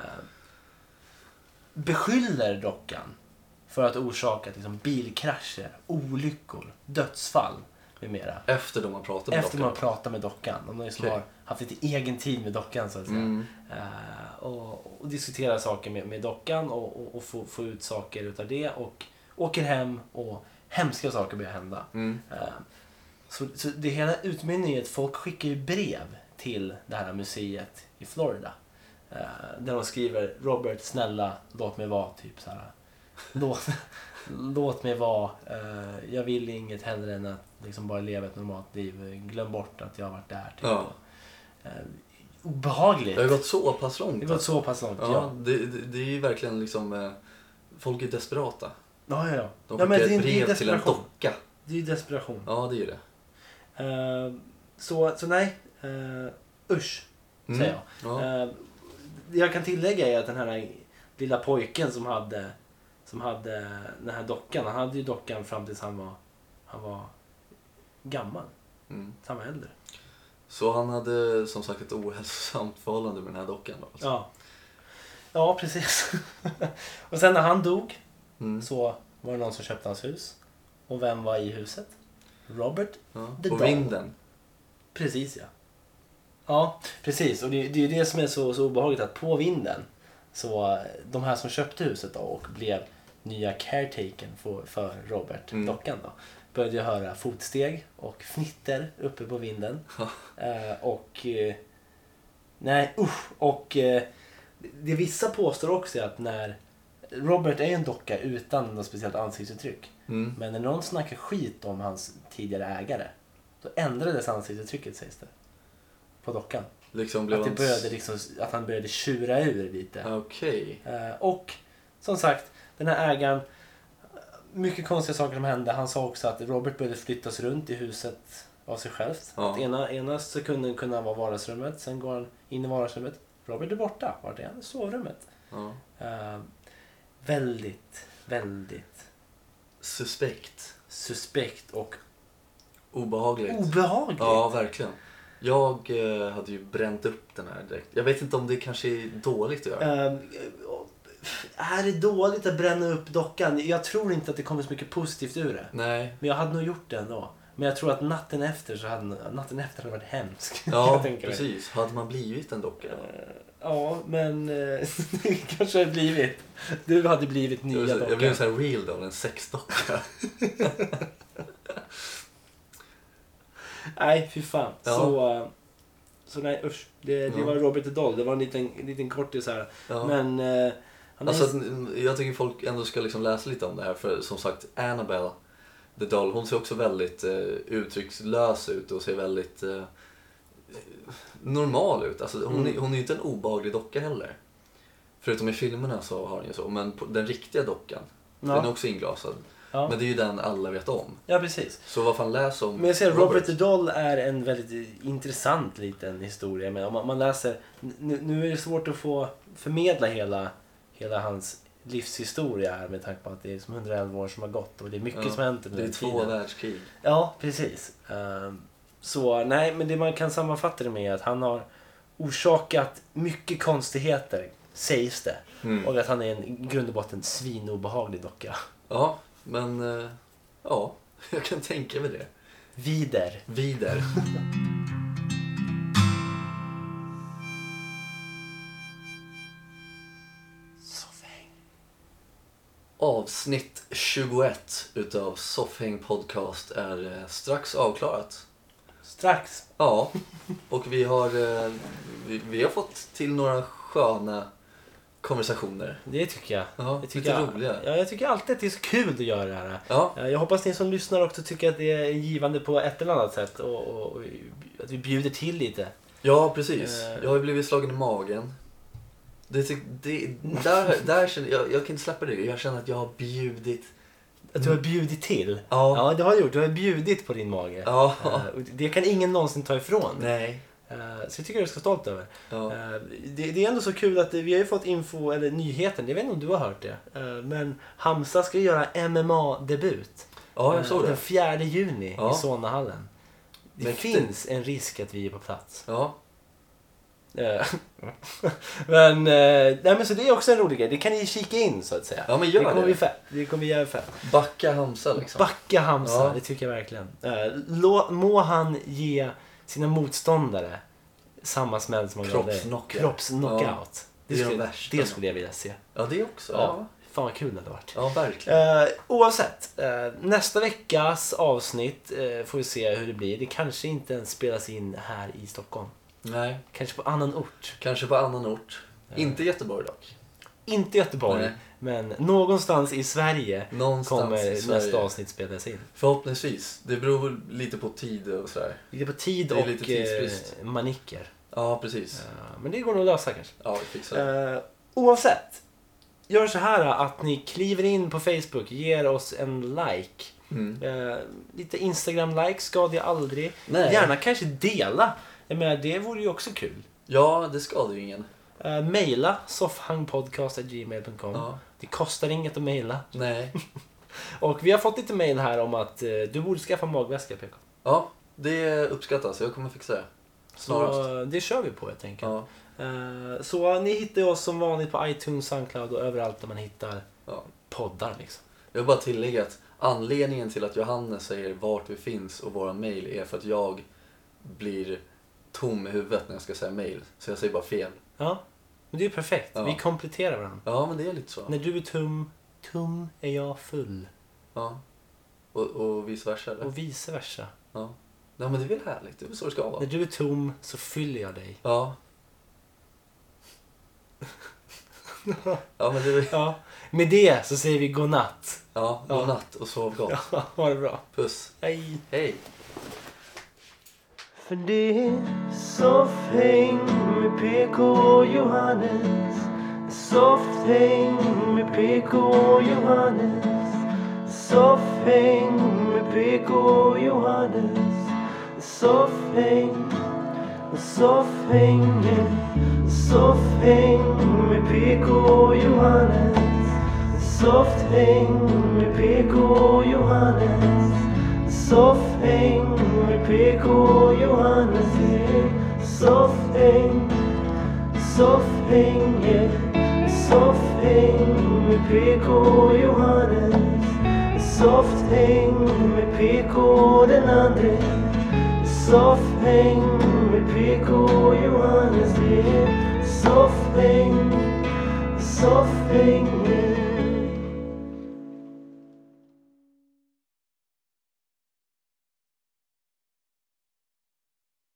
Speaker 3: beskyller dockan för att ha orsakat liksom, bilkrascher, olyckor, dödsfall med mera.
Speaker 1: Efter de har pratat med
Speaker 3: Efter man
Speaker 1: doktorn.
Speaker 3: pratar med dockan. De liksom
Speaker 1: Okej.
Speaker 3: har haft lite egen tid med dockan så att säga.
Speaker 1: Mm.
Speaker 3: Eh, och, och diskuterar saker med, med dockan och, och, och få, få ut saker utav det. Och åker hem och hemska saker börjar hända.
Speaker 1: Mm.
Speaker 3: Eh, så, så det hela utmynnar i att folk skickar ju brev till det här museet i Florida. Eh, där de skriver Robert snälla låt mig vara typ så här. Låt, låt mig vara. Eh, jag vill inget hellre än att liksom bara leva ett normalt liv. Glöm bort att jag har varit där. Typ.
Speaker 1: Ja.
Speaker 3: Eh, obehagligt.
Speaker 1: Det har gått så pass långt.
Speaker 3: Det har gått så pass långt.
Speaker 1: alltså.
Speaker 3: Ja,
Speaker 1: ja, det, det, det är ju verkligen liksom... eh, Folk är desperata.
Speaker 3: ja, ja. ja.
Speaker 1: De skickar
Speaker 3: ja men det, är-
Speaker 1: ett
Speaker 3: det är
Speaker 1: brev till en
Speaker 3: desperation.
Speaker 1: docka.
Speaker 3: Det är ju desperation.
Speaker 1: Ja, det är det.
Speaker 3: Eh, så, så nej. Uh, usch,
Speaker 1: Mm.
Speaker 3: säger jag.
Speaker 1: Ja.
Speaker 3: Eh, det jag kan tillägga är att den här lilla pojken som hade, som hade den här dockan. Han hade ju dockan fram tills han var, han var gammal.
Speaker 1: Mm.
Speaker 3: Så han var äldre.
Speaker 1: Så han hade som sagt ett ohälsosamt förhållande med den här dockan. då, Alltså.
Speaker 3: Ja. Ja, precis. och sen när han dog
Speaker 1: Mm.
Speaker 3: så var det någon som köpte hans hus. Och vem var i huset? Robert
Speaker 1: Ja.
Speaker 3: The
Speaker 1: Och
Speaker 3: Doll.
Speaker 1: vinden.
Speaker 3: Precis ja. Ja, precis. Och det, det är ju det som är så, så obehagligt att på vinden så eh, de här som köpte huset då och blev nya caretaken för, för Robert,
Speaker 1: Mm.
Speaker 3: dockan då, började ju höra fotsteg och fnitter uppe på vinden. Eh, och... Eh, nej, usch! Och eh, det vissa påstår också är att när... Robert är ju en docka utan något speciellt ansiktsuttryck.
Speaker 1: Mm.
Speaker 3: Men när någon snackar skit om hans tidigare ägare, då ändrades ansiktsuttrycket sägs det. På dockan.
Speaker 1: Liksom blev
Speaker 3: Att, det
Speaker 1: han-
Speaker 3: började liksom, att han började tjura ur lite.
Speaker 1: Okej.
Speaker 3: Eh, Och som sagt, den här ägaren, mycket konstiga saker som hände. Han sa också att Robert började flyttas runt i huset av sig själv.
Speaker 1: Ja.
Speaker 3: Att ena, ena sekunden kunde han vara i vardagsrummet, sen går han in i vardagsrummet. Robert är borta. Vart är han? I sovrummet.
Speaker 1: Ja.
Speaker 3: Eh, väldigt, väldigt
Speaker 1: Suspekt.
Speaker 3: suspekt och
Speaker 1: Obehagligt.
Speaker 3: obehagligt.
Speaker 1: Ja, verkligen. Jag eh, hade ju bränt upp den här direkt. Jag vet inte om det kanske är dåligt att göra.
Speaker 3: Ehm, är det dåligt att bränna upp dockan? Jag tror inte att det kommer så mycket positivt ur det.
Speaker 1: Nej.
Speaker 3: Men jag hade nog gjort det ändå. Men jag tror att natten efter så hade natten efter hade varit hemsk. kan
Speaker 1: Ja,
Speaker 3: jag tänka mig.
Speaker 1: precis. Hade man blivit en docka? då?
Speaker 3: Ja, men eh, det kanske hade blivit. Du hade blivit
Speaker 1: Jag
Speaker 3: nya
Speaker 1: blev så- jag blev
Speaker 3: dockan.
Speaker 1: så här real då, en sexdocka.
Speaker 3: Nej, fy fan.
Speaker 1: Ja.
Speaker 3: Så, eh, så nej, usch. Det, det
Speaker 1: Ja.
Speaker 3: var Robert the Doll. Det var en liten, en liten kortis här.
Speaker 1: Ja.
Speaker 3: Men... eh, han är-
Speaker 1: Alltså, att- jag tycker folk ändå ska liksom läsa lite om det här för som sagt Annabelle The Doll, hon ser också väldigt eh, uttryckslös ut och ser väldigt eh, normal ut. Alltså,
Speaker 3: Mm.
Speaker 1: hon, är, hon är ju inte en obehaglig docka heller. Förutom i filmerna så har hon ju så, men på, den riktiga dockan,
Speaker 3: Ja.
Speaker 1: den är också inglasad.
Speaker 3: Ja.
Speaker 1: Men det är ju den alla vet om.
Speaker 3: ja, precis.
Speaker 1: Så vad fan läs om
Speaker 3: Men jag säger Robert the Doll är en väldigt intressant liten historia. Men om man, man läser, nu, nu är det svårt att få förmedla hela, hela hans livshistoria här med tanke på att det är som 111 år som har gått och det är mycket
Speaker 1: Ja,
Speaker 3: som har hänt under
Speaker 1: Det är
Speaker 3: den
Speaker 1: två
Speaker 3: tiden.
Speaker 1: världskrig.
Speaker 3: Ja, precis. Ehm, så nej, men det man kan sammanfatta det med är att han har orsakat mycket konstigheter, sägs det.
Speaker 1: Mm.
Speaker 3: Och att han är en i grund och botten svinobehaglig docka.
Speaker 1: Ja, men eh, ja, jag kan tänka mig det.
Speaker 3: Vider.
Speaker 1: Vider.
Speaker 3: Soffhäng.
Speaker 1: Avsnitt 21 utav Soffhäng Podcast är eh, strax avklarat.
Speaker 3: Strax.
Speaker 1: Ja, och vi har, eh, vi, vi har fått till några sköna konversationer.
Speaker 3: Det tycker jag.
Speaker 1: Ja,
Speaker 3: jag tycker
Speaker 1: lite
Speaker 3: jag,
Speaker 1: roliga.
Speaker 3: Ja, jag tycker alltid att det är så kul att göra det här.
Speaker 1: Ja.
Speaker 3: Eh, Jag hoppas ni som lyssnar också tycker att det är givande på ett eller annat sätt och, och, och att vi bjuder till lite.
Speaker 1: Ja, precis.
Speaker 3: Eh.
Speaker 1: Jag har ju blivit slagen i magen. Det, ty- det, där, där känner jag, jag kan inte släppa det. Jag känner att jag har bjudit.
Speaker 3: Att du har bjudit till.
Speaker 1: Mm. Ja.
Speaker 3: Ja, det har du gjort. Du har bjudit på din mage.
Speaker 1: Ja.
Speaker 3: Eh, och Det kan ingen någonsin ta ifrån.
Speaker 1: Nej.
Speaker 3: Eh, Så det tycker jag du ska vara stolt över.
Speaker 1: Ja.
Speaker 3: Eh, Det, det är ändå så kul att eh, vi har ju fått info, eller nyheten, jag vet inte om du har hört det. eh, Men Hamza ska göra MMA-debut.
Speaker 1: Ja, jag såg
Speaker 3: Eh, Den
Speaker 1: det.
Speaker 3: 4 juni
Speaker 1: Ja.
Speaker 3: i Solnahallen. Det
Speaker 1: Mäktigt.
Speaker 3: finns en risk att vi är på plats.
Speaker 1: Ja.
Speaker 3: Eh, men, eh, nej, men så det är också en rolig grej. Det kan ni kika in så att säga.
Speaker 1: Ja, men gör
Speaker 3: det kommer
Speaker 1: det.
Speaker 3: bli fett. Det kommer bli jävligt fett.
Speaker 1: Backa Hamza liksom.
Speaker 3: Backa Hamza,
Speaker 1: Ja.
Speaker 3: det tycker jag verkligen. Eh, Lå, må han ge sina motståndare samma smäll som han gav dig.
Speaker 1: Kroppsknockout.
Speaker 3: Kroppsknockout.
Speaker 1: Det
Speaker 3: Det,
Speaker 1: är de
Speaker 3: skulle,
Speaker 1: värsta.
Speaker 3: det skulle jag vilja se.
Speaker 1: Ja, det också.
Speaker 3: Ja.
Speaker 1: Ja,
Speaker 3: Fan vad kul det hade varit.
Speaker 1: ja verkligen.
Speaker 3: Eh, oavsett, eh, nästa veckas avsnitt eh, får vi se hur det blir. Det kanske inte ens spelas in här i Stockholm.
Speaker 1: Nej,
Speaker 3: Kanske på annan ort.
Speaker 1: kanske på annan ort. Inte Göteborg dock.
Speaker 3: Inte Göteborg,
Speaker 1: Nej.
Speaker 3: men någonstans i Sverige
Speaker 1: Någonstans
Speaker 3: kommer
Speaker 1: i Sverige.
Speaker 3: nästa avsnitt spelas in.
Speaker 1: Förhoppningsvis. Det beror väl lite på tid och sådär.
Speaker 3: Det är på tid
Speaker 1: Det är
Speaker 3: och
Speaker 1: lite tidsbrist.
Speaker 3: eh, maniker.
Speaker 1: Ja, precis.
Speaker 3: Eh, Men det går nog att lösa kanske.
Speaker 1: Ja, vi fixar det.
Speaker 3: Eh, oavsett, gör så här att ni kliver in på Facebook, ger oss en like.
Speaker 1: Mm.
Speaker 3: Eh, lite Instagram-like skadar jag aldrig.
Speaker 1: Nej.
Speaker 3: Gärna kanske dela. Jag menar, det vore ju också kul.
Speaker 1: Ja, det skadar ju ingen.
Speaker 3: Uh, maila soffhangpodcast.gmail.com.
Speaker 1: Ja.
Speaker 3: Det kostar inget att maila.
Speaker 1: Nej.
Speaker 3: Och vi har fått lite mail här om att eh, du borde skaffa magväska PK.
Speaker 1: Ja, det uppskattas. Jag kommer fixa det. Snarast.
Speaker 3: Så eh, det kör vi på helt enkelt.
Speaker 1: Ja,
Speaker 3: Eh, så eh, ni hittar ju oss som vanligt på iTunes, Soundcloud och överallt där man hittar
Speaker 1: ja.
Speaker 3: poddar liksom.
Speaker 1: Jag vill bara tillägga att anledningen till att Johannes säger vart vi finns och våra mejl är för att jag blir tom i huvudet när jag ska säga mejl. Så jag säger bara fel.
Speaker 3: Ja, men det är ju perfekt.
Speaker 1: Ja.
Speaker 3: Vi kompletterar varandra.
Speaker 1: Ja, men det är lite så.
Speaker 3: När du är tum, tum är jag full.
Speaker 1: Ja. Och, och vice versa eller?
Speaker 3: Och vice versa.
Speaker 1: Ja. Nej men det är väl härligt, det är väl så det ska
Speaker 3: När
Speaker 1: vara.
Speaker 3: du är tom så fyller jag dig.
Speaker 1: Ja. Ja men det är väl...
Speaker 3: Ja. Med det så säger vi godnatt.
Speaker 1: Ja,
Speaker 3: Ja.
Speaker 1: godnatt och sov gott.
Speaker 3: Ja, ha det bra.
Speaker 1: Puss.
Speaker 3: Hej.
Speaker 1: Hej.
Speaker 3: För det är soffhäng med PK och Johannes Soffhäng med PK och Johannes Soffhäng med PK och Johannes Soffhäng, soffhäng, soffhäng med PK och Johannes Soffhäng med PK och Johannes Soffhäng med PK och Johannes yeah. Soffhäng Soffhäng yeah. Soffhäng med PK och Johannes Soffhäng med PK och den andre Soffhäng med PK och Johannes yeah. Soffhäng Soffhäng yeah.